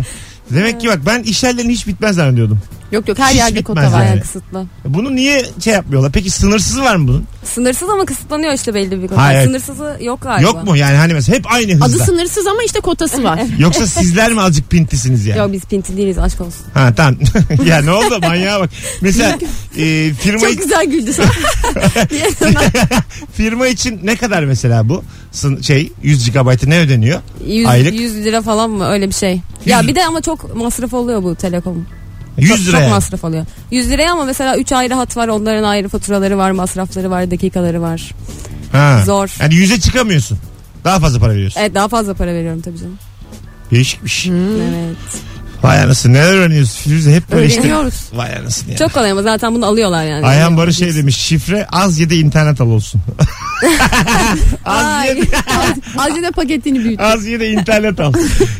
Demek ki bak ben iş yerlerinin hiç bitmez zannediyordum.
yok yok her
Hiç
yerde
bitmez
kota var.
yani.
Bayağı kısıtlı.
Bunu niye şey yapmıyorlar? Peki sınırsız var mı bunun?
Sınırsız ama kısıtlanıyor işte belli bir konu.
Hayır, hayır.
Sınırsızı yok galiba.
Yok mu? Yani hani mesela hep aynı hızda.
Adı sınırsız ama işte kotası var.
Yoksa sizler mi azıcık pintisiniz yani?
Yok biz pinti değiliz aşk olsun.
Ha tamam. ya ne oldu manyağa bak. Mesela e, firma,
Çok güzel güldü sen.
firma için ne kadar mesela bu? Sın- şey 100 GB'ı ne ödeniyor?
100,
Aylık.
100 lira falan mı öyle bir şey. Ya
Yüz-
bir de ama çok masraf oluyor bu telekom.
100
Çok
liraya.
masraf oluyor. 100 liraya ama mesela 3 ayrı hat var. Onların ayrı faturaları var, masrafları var, dakikaları var.
Ha.
Zor.
Yani 100'e çıkamıyorsun. Daha fazla para veriyorsun.
Evet daha fazla para veriyorum tabii canım.
Değişikmiş.
Evet.
Vay anasını neler öğreniyorsun Firuze hep böyle işte.
Öğreniyoruz.
Vay anasını ya.
Çok kolay ama zaten bunu alıyorlar yani.
Ayhan Barış şey demiş şifre az ye de internet al olsun. az, ye de,
Azıcık da paketini büyüt.
az ye de internet al.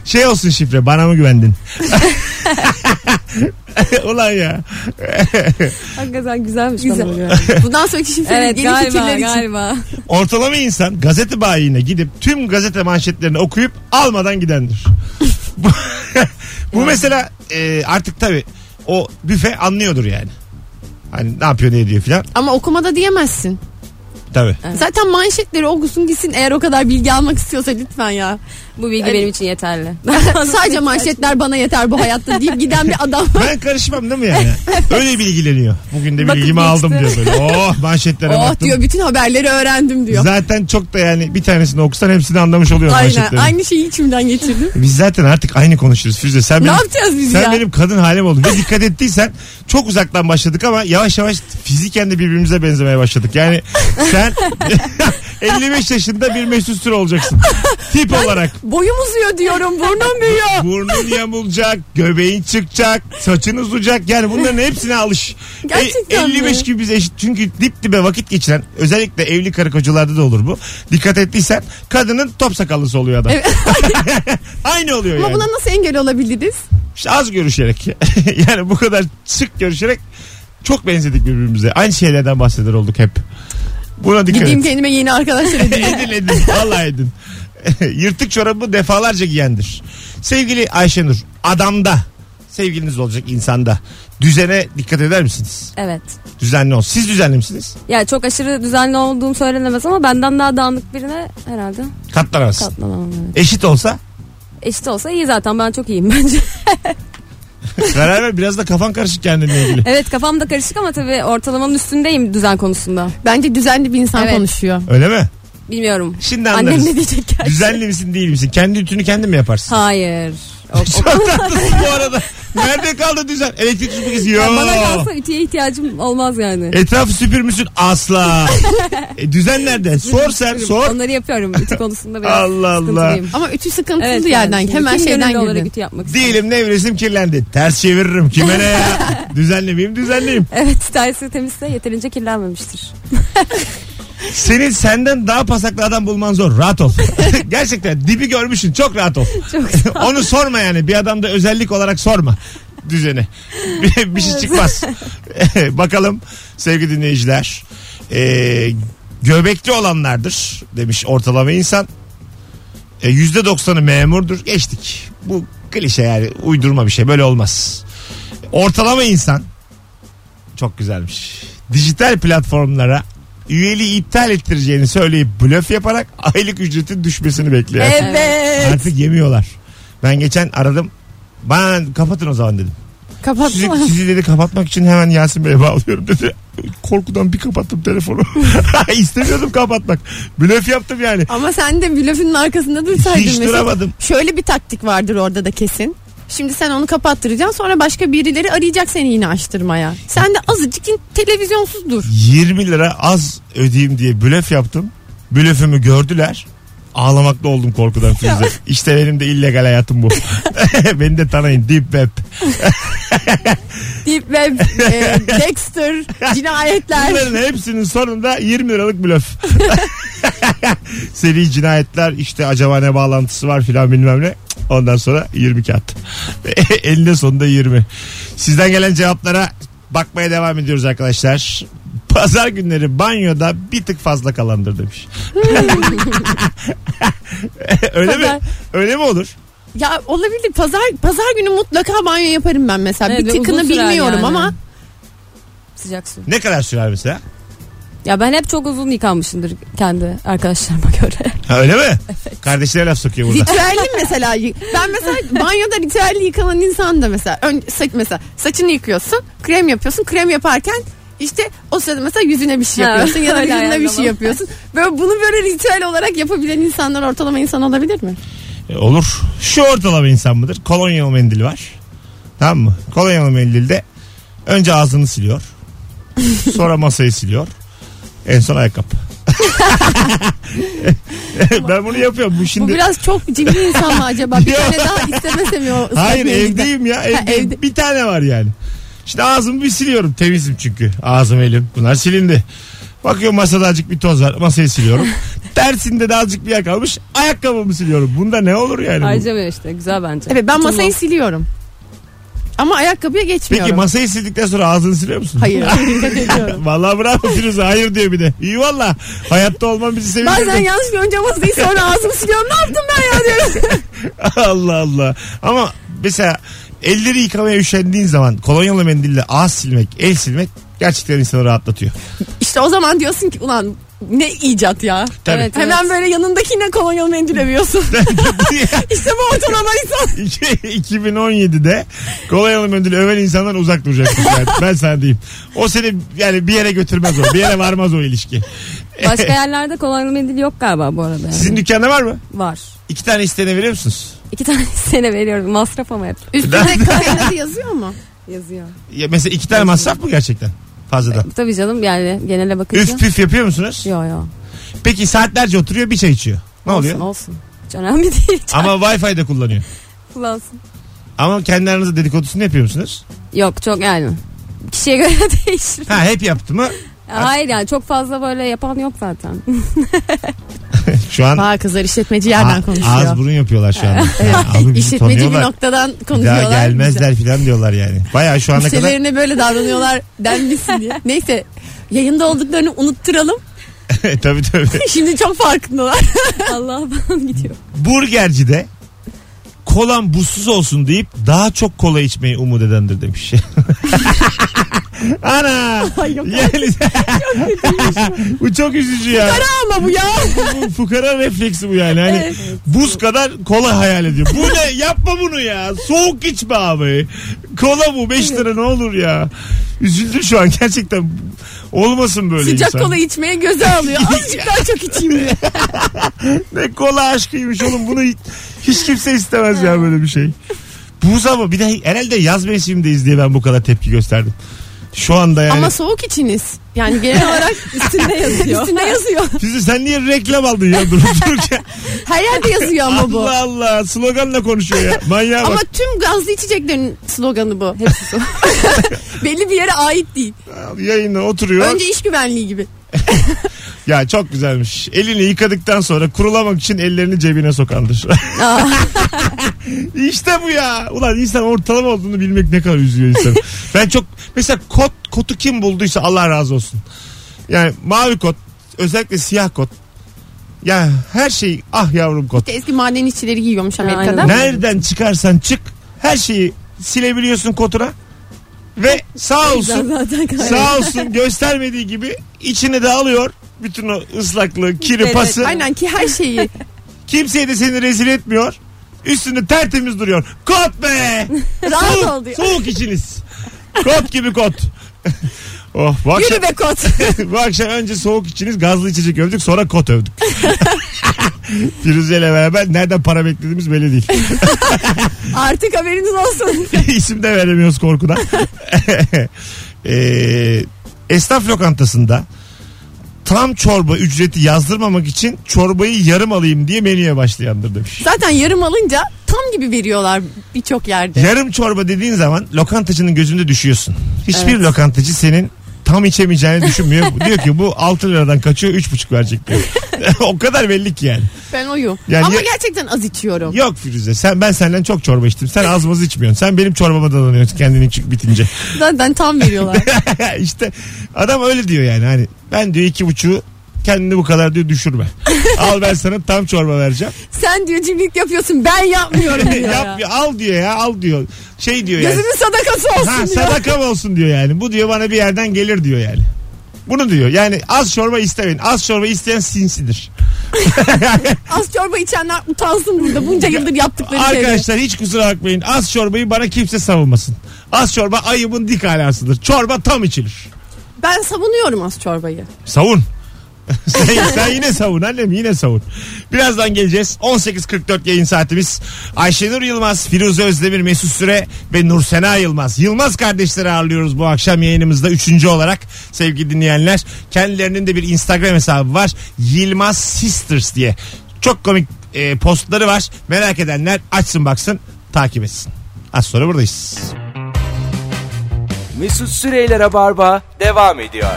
Şey olsun şifre bana mı güvendin? Ulan ya.
Hakikaten güzelmiş.
Güzel.
bana göre.
Bundan sonraki şimdi
Evet
yeni
galiba
fikirler için.
galiba.
Ortalama insan gazete bayine gidip tüm gazete manşetlerini okuyup almadan gidendir. Bu- Bu mesela e, artık tabii o büfe anlıyordur yani. Hani ne yapıyor ne ediyor filan.
Ama okumada diyemezsin.
Tabii.
Zaten manşetleri okusun gitsin eğer o kadar bilgi almak istiyorsa lütfen ya.
Bu bilgi
Evet.
benim için yeterli.
Sadece manşetler bana yeter bu hayatta deyip giden bir adam var.
Ben karışmam değil mi yani? Öyle bilgileniyor. Bugün de
Bakıp
bilgimi aldım
geçti.
diyor böyle. Oh manşetlere
Oh
baktım.
diyor bütün haberleri öğrendim diyor.
Zaten çok da yani bir tanesini okusan hepsini anlamış oluyorsun
Aynen
manşetlerin.
aynı şeyi içimden geçirdim.
Biz zaten artık aynı konuşuruz Firuze. Sen
ne
benim,
yapacağız biz
sen
ya?
benim kadın halim oldun. Ve dikkat ettiysen çok uzaktan başladık ama yavaş yavaş fiziken de birbirimize benzemeye başladık. Yani sen 55 yaşında bir mesut süre olacaksın. Tip olarak.
Boyum uzuyor diyorum burnum büyüyor.
Burnun yamulacak, göbeğin çıkacak, saçın uzayacak. Yani bunların hepsine alış.
Gerçekten mi?
55 gibi biz eşit. Çünkü dip dibe vakit geçiren özellikle evli karı kocalarda da olur bu. Dikkat ettiysen kadının top sakallısı oluyor adam. Aynı oluyor
Ama
yani.
buna nasıl engel olabiliriz?
İşte az görüşerek. yani bu kadar sık görüşerek çok benzedik birbirimize. Aynı şeylerden bahseder olduk hep. Buna dikkat
Gideyim
et.
kendime yeni arkadaşlar edeyim.
edin edin. Valla edin. Yırtık çorabı defalarca giyendir. Sevgili Ayşenur adamda sevgiliniz olacak insanda düzene dikkat eder misiniz?
evet.
Düzenli ol. Siz düzenli misiniz?
Ya çok aşırı düzenli olduğum söylenemez ama benden daha dağınık birine herhalde
Katlanamazsın.
katlanamam. Evet.
Eşit olsa
Eşit olsa iyi zaten ben çok iyiyim bence.
karar ver biraz da kafan karışık kendinle ilgili.
evet kafam da karışık ama tabii ortalamanın üstündeyim düzen konusunda.
Bence düzenli bir insan
Evet.
konuşuyor.
Öyle mi?
Bilmiyorum.
Şimdi
Annem
anlarız.
ne diyecek gerçi?
Düzenli misin değil misin? Kendi ütünü kendin mi yaparsın?
Hayır. O, o-
Çok tatlısın bu arada. Nerede kaldı düzen? Elektrik süpürgesi yok.
Ya bana kalsa ütüye ihtiyacım olmaz yani.
Etrafı süpürmüşsün asla. e, düzen nerede? Sor sen sor.
Onları yapıyorum. Ütü konusunda biraz
Allah Allah.
sıkıntılıyım.
Ama ütü sıkıntılı
Evet,
yerden
yani şimdi
hemen
kim
şeyden
gönüllü olarak
girdi.
ütü yapmak istiyor?
Diyelim nevresim kirlendi. Ters çeviririm. Kime ne ya? Düzenli miyim? Düzenliyim.
Evet tersi temizse yeterince kirlenmemiştir.
Senin senden daha pasaklı adam bulman zor. Rahat ol. Gerçekten dibi görmüşsün. Çok rahat ol.
Çok
Onu sorma yani. Bir adamda özellik olarak sorma düzeni. Bir, bir şey çıkmaz. Bakalım sevgili dinleyiciler. Ee, göbekli olanlardır demiş ortalama insan. E, %90'ı memurdur. Geçtik. Bu klişe yani uydurma bir şey. Böyle olmaz. Ortalama insan çok güzelmiş. Dijital platformlara üyeliği iptal ettireceğini söyleyip blöf yaparak aylık ücretin düşmesini bekliyor.
Evet.
Artık yemiyorlar. Ben geçen aradım. Ben kapatın o zaman dedim. Sizi,
Kapatma.
sizi dedi kapatmak için hemen Yasin Bey'e bağlıyorum dedi. Korkudan bir kapattım telefonu. İstemiyordum kapatmak. Blöf yaptım yani.
Ama sen de blöfünün arkasında dursaydın
Hiç
mesela.
duramadım.
Şöyle bir taktik vardır orada da kesin. Şimdi sen onu kapattıracaksın sonra başka birileri arayacak seni yine açtırmaya. Sen de azıcık in- televizyonsuz dur.
20 lira az ödeyeyim diye blöf yaptım. blöfümü gördüler. Ağlamakta oldum korkudan Firuze. İşte benim de illegal hayatım bu. Beni de tanıyın. Deep web.
Deep Web, e, Dexter, cinayetler.
Bunların hepsinin sonunda 20 liralık blöf. Seri cinayetler işte acaba ne bağlantısı var filan bilmem ne. Ondan sonra 20 kağıt. Elinde sonunda 20. Sizden gelen cevaplara bakmaya devam ediyoruz arkadaşlar. Pazar günleri banyoda bir tık fazla kalandır demiş. Öyle mi?
Pazar.
Öyle mi olur?
ya olabilir. Pazar pazar günü mutlaka banyo yaparım ben mesela.
Evet,
bir
ve
tıkını
Ee, uzun sürer
bilmiyorum
yani.
ama
Sıcak su.
Ne kadar sürer mesela?
Ya ben hep çok uzun yıkanmışımdır kendi arkadaşlarıma göre.
Ha, öyle mi? Kardeşlere laf sokuyor burada.
ritüelli mesela. yı- Ben mesela banyoda ritüelli yıkanan insan da mesela. Ön, saç, mesela saçını yıkıyorsun, krem yapıyorsun. Krem yaparken işte o sırada mesela yüzüne bir şey
Ha,
yapıyorsun ya da
öyle
yüzüne bir şey
ayarlama.
yapıyorsun. Böyle bunu böyle ritüel olarak yapabilen insanlar ortalama insan olabilir mi?
E, olur. Şu ortalama insan mıdır? Kolonyalı mendil var. Tamam mı? Kolonyalı mendilde önce ağzını siliyor. sonra masayı siliyor. En son ayakkabı. ben bunu yapıyorum. Bu
Bu
şimdi
biraz çok cimri insan mı acaba? Bir
Yok.
tane daha istemese mi o ıslak
Hayır
mendilden?
evdeyim ya. Evdeyim.
evde-
Bir tane var yani. Şimdi ağzımı bir siliyorum. Temizim çünkü. Ağzım elim. Bunlar silindi. Bakıyorum masada azıcık bir toz var. Masayı siliyorum. Tersinde de azıcık bir yer kalmış. Ayakkabımı siliyorum. Bunda ne olur yani? bu?
Harcamıyor işte güzel bence.
Evet ben
Tutulmaz.
masayı siliyorum. Ama ayakkabıya geçmiyorum.
Peki masayı sildikten sonra ağzını siliyor musun?
Hayır. dikkat ediyorum.
Vallahi bravo Firuze hayır diyor bir de. İyi valla. Hayatta olman bizi sevindirdi.
Bazen yanlışlıkla önce masayı sonra ağzımı siliyorum. Ne yaptım ben ya diyorum.
Allah Allah. Ama mesela elleri yıkamaya üşendiğin zaman kolonyalı mendille ağız silmek, el silmek gerçekten insanı rahatlatıyor.
işte o zaman diyorsun ki ulan ne icat ya.
Tabii.
Evet.
Hemen böyle yanındakine kolonyalı mendil övüyorsun. işte bu ortalama insan.
2017'de kolonyalı mendil öven insandan uzak duracaksın. Yani. Ben sana diyeyim. O seni yani bir yere götürmez o. Bir yere varmaz o ilişki.
Başka yerlerde kolonyalı mendil yok galiba bu arada. yani.
Sizin dükkanda var mı?
Var.
İki tane isteğine veriyor musunuz?
İki tane sene veriyorum. Masraf ama hep
Üstüne kafeinatı yazıyor mu?
yazıyor.
Ya mesela iki tane masraf mı gerçekten? Fazladan.
Tabii canım yani genele bakınca.
Üf püf yapıyor musunuz?
Yo yo.
Peki saatlerce oturuyor bir çay içiyor. Ne
Olsun,
oluyor?
Olsun. Hiç önemli değil.
Ama Wi-Fi de kullanıyor.
Kullansın.
Ama kendi aranızda dedikodusunu yapıyor musunuz?
Yok çok yani. Kişiye göre değişir.
Ha hep yaptı mı?
Hayır yani çok fazla böyle yapan yok zaten.
Şu an
Aa kızlar işletmeci
a-
yerden konuşuyor.
ağız burun yapıyorlar şu an.
İşletmeci bir noktadan konuşuyorlar.
Daha gelmezler filan diyorlar yani. Baya şu ana kadar
Müşterilerine böyle davranıyorlar denmesin diye. Neyse yayında olduklarını unutturalım.
tabii tabii.
Şimdi çok farkındalar.
Allah falan gidiyor.
Burgercide kolam buzsuz olsun deyip daha çok kola içmeyi umut edendir demiş. Ana! yani... bu çok üzücü ya.
Ama bu ya.
bu fukara refleksi bu yani. Hani buz kadar kola hayal ediyor. Bu ne? Yapma bunu ya. Soğuk içme abi. Kola bu 5 lira ne olur ya. Üzüldüm şu an gerçekten. Olmasın böyle
Sıcak
insan.
kola içmeye göze alıyor. Azıcık daha çok içeyim diye.
Ne kola aşkıymış oğlum. Bunu hiç kimse istemez ya böyle bir şey. Buz ama bir de herhalde yaz mevsimindeyiz diye ben bu kadar tepki gösterdim. Şu anda yani.
Ama soğuk içiniz. Yani genel olarak üstünde yazıyor. üstünde yazıyor.
Fizi sen niye reklam aldın ya durup dururken?
Her yerde yazıyor ama bu.
Allah Allah sloganla konuşuyor ya. Manyağa bak.
Ama tüm gazlı içeceklerin sloganı bu. Hepsi Belli bir yere ait değil.
Yayına oturuyor.
Önce iş güvenliği gibi.
Ya çok güzelmiş. Elini yıkadıktan sonra kurulamak için ellerini cebine sokandır. işte bu ya. Ulan insan ortalama olduğunu bilmek ne kadar üzüyor insanı. ben çok mesela kot kotu kim bulduysa Allah razı olsun. Yani mavi kot özellikle siyah kot. Ya her şey ah yavrum kot.
Eski maden işçileri giyiyormuş
aynen.
Amerika'da.
Nereden çıkarsan çık her şeyi silebiliyorsun kotuna. Ve sağ olsun
zaten gayet-
sağ olsun göstermediği gibi içine de alıyor. Bütün o ıslaklığı, kiri,
Evet,
pası.
Aynen ki her şeyi.
Kimseye de seni rezil etmiyor. Üstünde tertemiz duruyor. Kot be!
Rahat
soğuk,
ol diyor.
soğuk içiniz. Kot gibi kot. Oh, bu akşam,
Yürü be kot.
bu akşam önce soğuk içiniz gazlı içecek övdük sonra kot övdük. Firuze ile beraber nereden para beklediğimiz belli değil.
Artık haberiniz olsun.
İsim de veremiyoruz korkudan. Ee, esnaf lokantasında tam çorba ücreti yazdırmamak için çorbayı yarım alayım diye menüye başlayandır demiş.
Zaten yarım alınca tam gibi veriyorlar birçok yerde.
Yarım çorba dediğin zaman lokantacının gözünde düşüyorsun. Hiçbir lokantacı senin tam içemeyeceğini düşünmüyor. diyor ki bu 6 liradan kaçıyor 3,5 verecek diyor. o kadar belli ki yani.
Ben oyum.
Yani
Ama
ya-
gerçekten az içiyorum.
Yok Firuze sen ben senden çok çorba içtim. Sen az maz içmiyorsun. Sen benim çorbama dalanıyorsun kendini çık bitince.
Zaten tam veriyorlar.
işte adam öyle diyor yani hani ben diyor iki buçuğu kendini bu kadar diyor düşürme. Al ben sana tam çorba vereceğim.
Sen diyor cimrilik yapıyorsun ben yapmıyorum diyor ya.
Yap, al diyor ya al diyor. Şey diyor yani.
Gözünün sadakası olsun
Ha,
diyor.
sadakam olsun diyor yani. Bu diyor bana bir yerden gelir diyor yani. Bunu diyor. Yani az çorba istemeyin. Az çorba isteyen sinsidir.
Az çorba içenler utansın burada bunca yıldır yaptıkları şeyleri.
Arkadaşlar hiç kusura bakmayın. Az çorbayı bana kimse savunmasın. Az çorba ayıbın dik alasıdır. Çorba tam içilir.
Ben savunuyorum az çorbayı.
Savun. sen, sen yine savun annem yine savun. Birazdan geleceğiz. 18.44 yayın saatimiz. Ayşenur Yılmaz, Firuze Özdemir, Mesut Süre ve Nursena Yılmaz. Yılmaz kardeşleri ağırlıyoruz bu akşam yayınımızda üçüncü olarak sevgili dinleyenler. Kendilerinin de bir Instagram hesabı var. Yılmaz Sisters diye. Çok komik e, postları var. Merak edenler açsın baksın takip etsin. Az sonra buradayız.
Mesut Süreyler'e barba devam ediyor.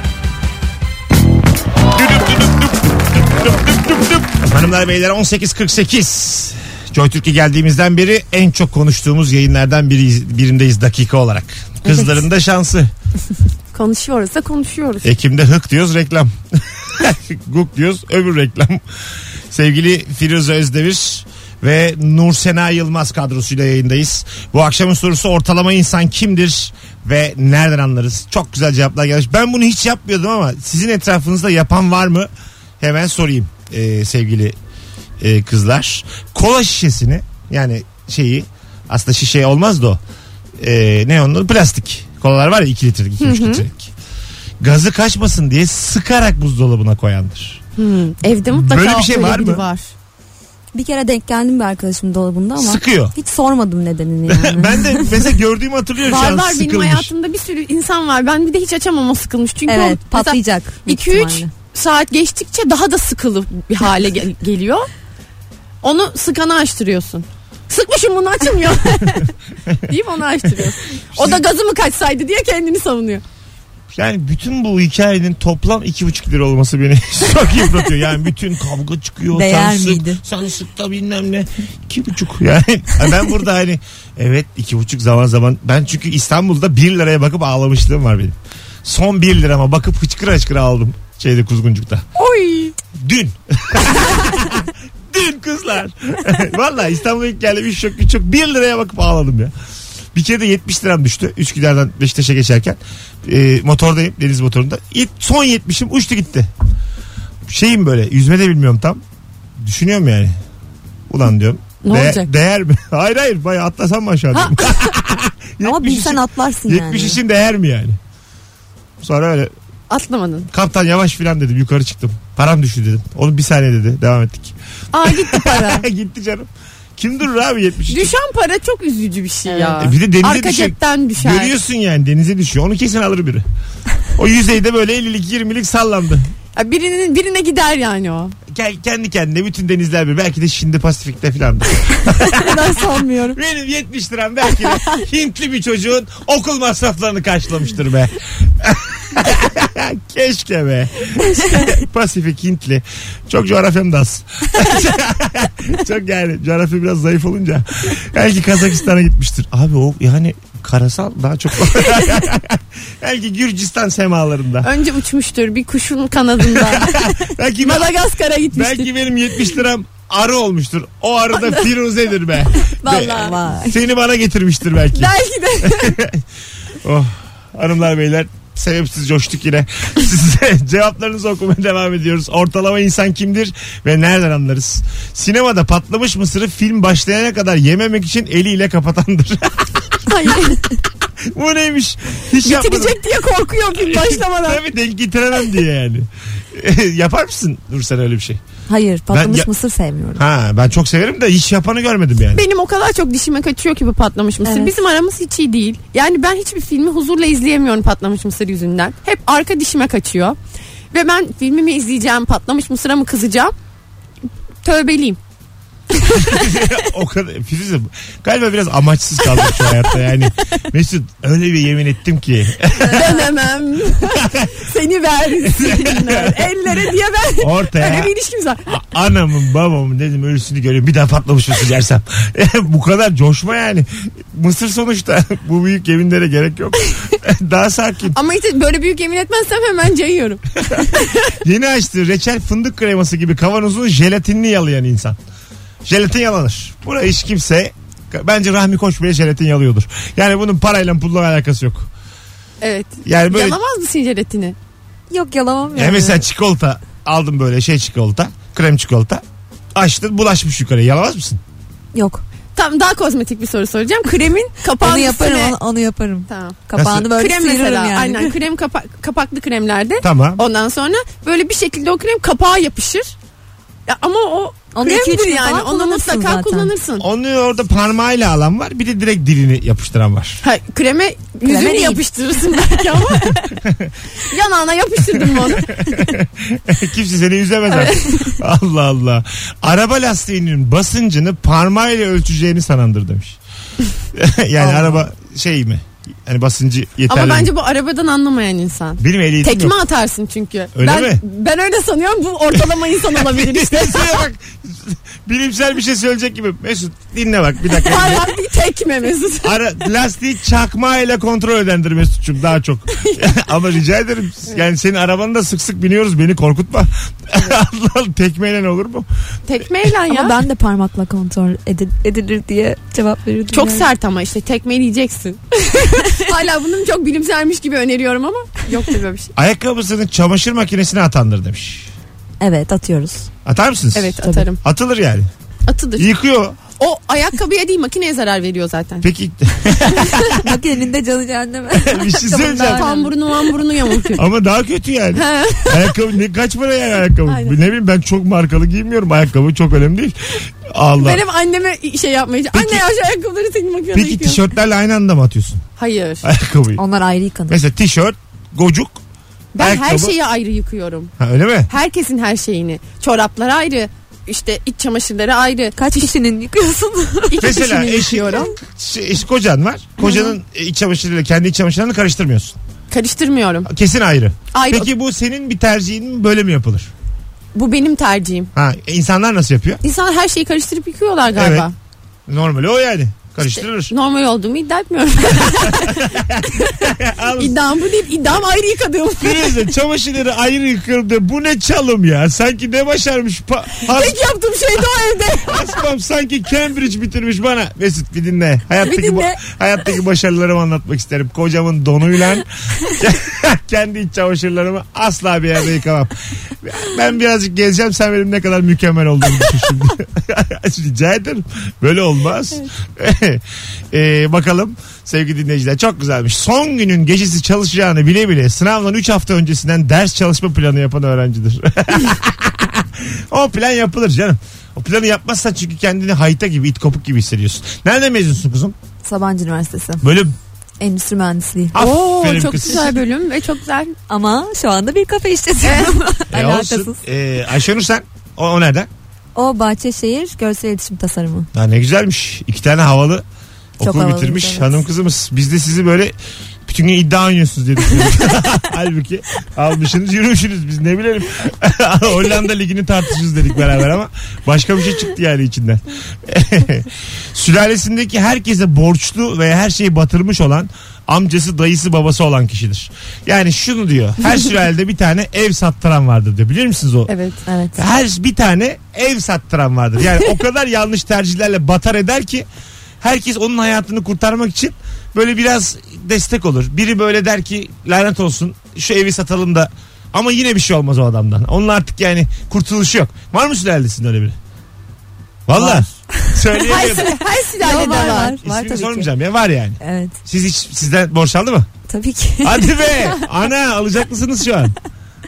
Hanımlar beyler 18.48 Joy Türkiye geldiğimizden beri en çok konuştuğumuz yayınlardan biri, birindeyiz dakika olarak. Kızların da şansı.
Konuşuyoruz da konuşuyoruz.
Ekim'de hık diyoruz reklam. Guk diyoruz öbür reklam. Sevgili Firuze Özdemir ve Nursena Yılmaz kadrosuyla yayındayız. Bu akşamın sorusu ortalama insan kimdir ve nereden anlarız? Çok güzel cevaplar gelmiş. Ben bunu hiç yapmıyordum ama sizin etrafınızda yapan var mı? Hemen sorayım e, sevgili e, kızlar. Kola şişesini yani şeyi aslında şişe olmaz da o. E, ne onun adı? plastik. Kolalar var ya 2 litrelik 2 3 litrelik. Gazı kaçmasın diye sıkarak buzdolabına koyandır.
Evde mutlaka
Böyle bir şey
öyle
var
biri
mı?
Var.
Bir kere denk geldim bir arkadaşımın dolabında ama
Sıkıyor.
hiç sormadım nedenini yani.
ben de mesela gördüğümü hatırlıyorum şu
Var
an
var benim
sıkılmış.
hayatımda bir sürü insan var. Ben bir de hiç açamam o sıkılmış. Çünkü o-
evet
mesela
patlayacak. büyük
2-3
ihtimalle.
saat geçtikçe daha da sıkılı bir hale gel- geliyor. Onu sıkana açtırıyorsun. Sıkmışım bunu açılmıyor. Deyip onu açtırıyorsun. O da
Şey-
gazı mı kaçsaydı diye kendini savunuyor.
Yani bütün bu hikayenin toplam 2,5 lira olması beni çok yıpratıyor. Yani bütün kavga çıkıyor.
Değer
sen
miydi?
Sık, sen sık da bilmem ne. 2,5 yani. Ben burada hani evet 2,5 zaman zaman. Ben çünkü İstanbul'da 1 liraya bakıp ağlamışlığım var benim. Son 1 lirama bakıp hıçkıra hıçkıra aldım. Şeyde Kuzguncuk'ta.
Oy.
Dün. Dün kızlar. Vallahi İstanbul'a ilk geldim. Üç çok, üç çok. Bir liraya bakıp ağladım ya. Bir kere de 70 liram düştü. Üsküdar'dan Beşiktaş'a geçerken. Ee, motordayım. Deniz motorunda. Yet- son 70'im uçtu gitti. Şeyim böyle. Yüzme de bilmiyorum tam. Düşünüyorum yani. Ulan diyorum.
Ne
"Değe-
olacak?"
Değer mi? Hayır hayır. Bayağı atlasam mı aşağı diyorum.
Ama
70
bilsen
için-
atlarsın
70
yani.
için değer mi yani? Sonra öyle
Atlamadın.
kaptan yavaş filan dedim yukarı çıktım. Param düştü dedim. Onu bir saniye dedi. Devam ettik.
Aa gitti para.
Gitti canım. Kim durur abi 70 için?
Düşen para çok üzücü bir şey ya.
E bir de denize
Arka
düşen-
cepten düşer.
Görüyorsun yani denize düşüyor. Onu kesin alır biri. O yüzeyde böyle 50'lik 20'lik sallandı.
Ya birinin birine gider yani o.
Gel, kendi kendine bütün denizler bir. Belki de şimdi Pasifik'te filan.
Ben sanmıyorum.
Benim 70 liram belki de Hintli bir çocuğun okul masraflarını karşılamıştır be. Keşke be. Pasifik Hintli. Çok coğrafyam da az. Çok yani coğrafya biraz zayıf olunca. Belki Kazakistan'a gitmiştir. Abi o yani karasal daha çok. belki Gürcistan semalarında.
Önce uçmuştur bir kuşun kanadında.
Belki,
Madagaskar'a gitmiştir.
belki benim 70 liram arı olmuştur. O arı da Firuze'dir be.
Vallahi.
Vay.
Seni bana getirmiştir belki.
Belki de.
Oh hanımlar beyler sebepsiz coştuk yine. Size cevaplarınızı okumaya devam ediyoruz. Ortalama insan kimdir ve nereden anlarız? Sinemada patlamış mısırı film başlayana kadar yememek için eliyle kapatandır.
Hayır.
Bu neymiş? Hiç yapmadım.
Bitirecek diye korkuyorum film başlamadan.
Tabii denk getiremem diye yani. Yapar mısın Nursel öyle bir şey?
Hayır patlamış
ya-
mısır sevmiyorum.
Ha ben çok severim de hiç yapanı görmedim yani.
Benim o kadar çok dişime kaçıyor ki bu patlamış mısır.
Evet.
Bizim aramız hiç iyi değil. Yani ben hiçbir filmi huzurla izleyemiyorum patlamış mısır yüzünden. Hep arka dişime kaçıyor. Ve ben filmimi izleyeceğim patlamış mısıra mı kızacağım. Tövbeliyim.
o kadar Firuzem galiba biraz amaçsız kaldık şu hayatta yani. Mesut öyle bir yemin ettim ki
Dönemem. Seni versinler. Ellere diye
Ee?
ben.
ortaya
Öyle bir ilişkimiz var.
a- anamın babamın dedim ölüsünü göreyim bir daha patlamış mısır yersem. Bu kadar coşma yani. Mısır sonuçta bu büyük yeminlere gerek yok. daha sakin.
Ama işte böyle büyük yemin etmezsem hemen cayıyorum.
Yeni açtığı reçel fındık kreması gibi kavanozun jelatinini yalayan insan. Jelatin yalanır. Buna hiç kimse bence Rahmi Koç bile jelatin yalıyordur. Yani bunun parayla pulla alakası yok.
Evet.
Yani böyle
Yalamaz mısın jelatini?
Yok yalamam
Ya mesela çikolata aldım böyle şey çikolata, krem çikolata. Açtın bulaşmış yukarı. Yalamaz mısın?
Yok.
Tam daha kozmetik bir soru soracağım. Kremin kapağını
Onu yaparım.
üstüne-
Onu, onu yaparım.
Tamam.
Kapağını böyle
Krem
sıyırırım
mesela.
yani.
Aynen krem kapa- kapaklı kremlerde.
Tamam.
Ondan sonra böyle bir şekilde o krem kapağa yapışır. Ya ama o
Onu iki, üç
kremdir
defa
yani. Onu
kullanırsın
mutlaka
zaten.
kullanırsın.
Onu orada parmağıyla alan var. Bir de direkt dilini yapıştıran var.
Ha, kreme yüzünü
değil.
yapıştırırsın belki ama. Yanağına yapıştırdım mı onu?
Kimse seni üzemez artık. Allah Allah. Araba lastiğinin basıncını parmağıyla ölçeceğini sanandır demiş. yani araba şey mi? Hani basıncı yeterli.
ama
mi?
bence bu arabadan anlamayan insan.
benim ehliyetim
Tekme
yok.
atarsın çünkü.
Öyle
ben,
mi?
ben öyle sanıyorum bu ortalama insan olabilir işte.
Şeye bak. Bilimsel bir şey söyleyecek gibi. Mesut dinle bak bir dakika.
Parmak bir tekme Mesut.
Ara, lastiği çakmayla kontrol edendir Mesut'cum daha çok. Ama rica ederim. Yani senin arabanı da sık sık biniyoruz. Beni korkutma. Allah Allah tekmeyle ne olur mu?
Tekmeyle ya.
Ama ben de parmakla kontrol edi- edilir diye cevap verirdim.
Çok
yani.
sert ama işte tekmeleyeceksin. Hala bunun çok bilimselmiş gibi öneriyorum ama yok tabii böyle bir şey.
Ayakkabısını çamaşır makinesine atandır demiş.
Evet atıyoruz.
Atar mısınız?
Evet atarım.
Atılır yani.
Atıdır.
Yıkıyor.
O ayakkabıya değil makineye zarar veriyor zaten.
Peki şey
Bak elinde canı cehenneme.
bir şey söyleyeceğim.
Pamburunu mamburunu yamultuyor.
Ama daha kötü yani. ayakkabı ne, kaç para yani ayakkabı?
Aynen.
Ne bileyim ben çok markalı giymiyorum. Ayakkabı çok önemli değil. Allah.
Benim anneme şey yapmaya Anne ya şu ayakkabıları senin makinede
Peki
yıkıyorum."
tişörtlerle aynı anda mı atıyorsun
Hayır.
ayakkabıyı?
Onlar ayrı yıkanır.
Mesela tişört, gocuk.
Ben her
ayakkabı-
şeyi ayrı yıkıyorum.
Ha, öyle mi?
Herkesin her şeyini. Çorapları ayrı. işte iç çamaşırları ayrı.
Kaç kişinin yıkıyorsun?
İki
Mesela
kişinin
eşi,
yıkıyorum.
şey- eş- kocan var. Kocanın iç çamaşırıyla kendi iç çamaşırlarını karıştırmıyorsun.
Karıştırmıyorum.
Kesin ayrı.
Ayrı.
Peki bu senin bir tercihin mi böyle mi yapılır?
Bu benim tercihim.
Ha e, insanlar nasıl yapıyor?
İnsan her şeyi karıştırıp yıkıyorlar galiba.
Evet. Normali o yani. Karıştırır.
Normal olduğumu iddia etmiyorum. iddiam bu değil. İddiam ayrı yıkadığım.
Firuze çamaşırları ayrı yıkıyorum diye bu ne çalım ya? Sanki ne başarmış? Pa- has-
Tek yaptığım şey de o evde.
hasbam sanki Cambridge bitirmiş bana. Mesut bir dinle. Hayattaki,
Bir dinle.
ba- hayattaki başarılarımı anlatmak isterim. Kocamın donuyla kendi iç çamaşırlarımı asla bir yerde yıkamam. Ben birazcık gezeceğim sen benim ne kadar mükemmel olduğumu düşün şimdi. Rica ederim. Böyle olmaz. Ee, bakalım sevgili dinleyiciler çok güzelmiş. Son günün gecesi çalışacağını bile bile sınavdan 3 hafta öncesinden ders çalışma planı yapan öğrencidir. o plan yapılır canım. O planı yapmazsan çünkü kendini hayta gibi it kopuk gibi hissediyorsun. Nerede mezunsun kızım?
Sabancı Üniversitesi.
Bölüm.
Endüstri mühendisliği.
Aferin
çok
kız.
güzel bölüm ve çok güzel.
Ama şu anda bir kafe işletiyorum.
E, olsun.
Alakasız.
E, Ayşenur sen? O, o nereden?
O Bahçeşehir Görsel İletişim Tasarımı.
Ha, ne güzelmiş. İki tane havalı
Çok
okul
havalıyız,
bitirmiş
evet.
hanım kızımız. Biz de sizi böyle bütün gün iddia oynuyorsunuz dedik. Halbuki almışsınız yürümüşsünüz biz ne bilelim. Hollanda ligini tartışırız dedik beraber ama başka bir şey çıktı yani içinden. Sülalesindeki herkese borçlu ve her şeyi batırmış olan amcası, dayısı, babası olan kişidir. Yani şunu diyor. Her sülalede bir tane ev sattıran vardır diyor. Bilir misiniz o
Evet.
Evet.
her bir tane ev sattıran vardır. Yani o kadar yanlış tercihlerle batar eder ki herkes onun hayatını kurtarmak için böyle biraz destek olur. Biri böyle der ki lanet olsun şu evi satalım da ama yine bir şey olmaz o adamdan. Onun artık yani kurtuluşu yok. Var mı sülalesinde öyle biri? Valla.
Her,
Söyleyemiyorum.
sü- her
Yo,
sülalede
var,
var.
var. Var
İsmini
tabii ki.
sormayacağım ya var yani.
Evet.
Siz hiç sizden borç aldı mı?
Tabii ki.
Hadi be. Ana alacaklısınız şu an.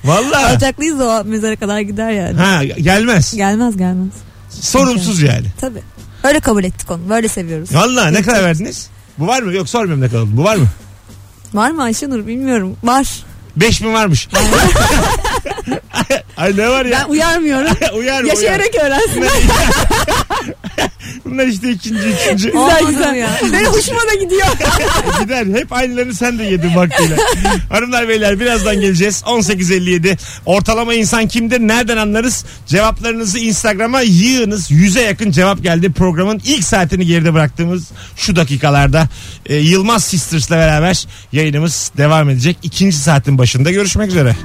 Valla.
Alacaklıyız o mezara kadar gider yani.
Ha gelmez.
Gelmez gelmez.
Sorumsuz yani.
Tabii. Öyle kabul ettik onu. Böyle seviyoruz.
Vallahi ne kadar verdiniz? Bu var mı? Yok sormuyorum ne kadar oldu. Bu var mı?
Var mı Ayşenur bilmiyorum. Var.
5000 varmış. Ay ne var
Ben
ya?
uyarmıyorum.
uyar uyar.
Yaşayarak öğrensin.
Bunlar işte ikinci üçüncü.
güzel
Olmadı
güzel.
mı ya?
Benim hoşuma da gidiyor.
Gider. Hep aynılarını sen de yedin vaktiyle. Hanımlar beyler birazdan geleceğiz. 18.57. Ortalama insan kimdir? Nereden anlarız? Cevaplarınızı Instagram'a yığınız. Yüze yakın cevap geldi. Programın ilk saatini geride bıraktığımız şu dakikalarda. Ee, Yılmaz Sisters'la beraber yayınımız devam edecek. İkinci saatin başında görüşmek üzere.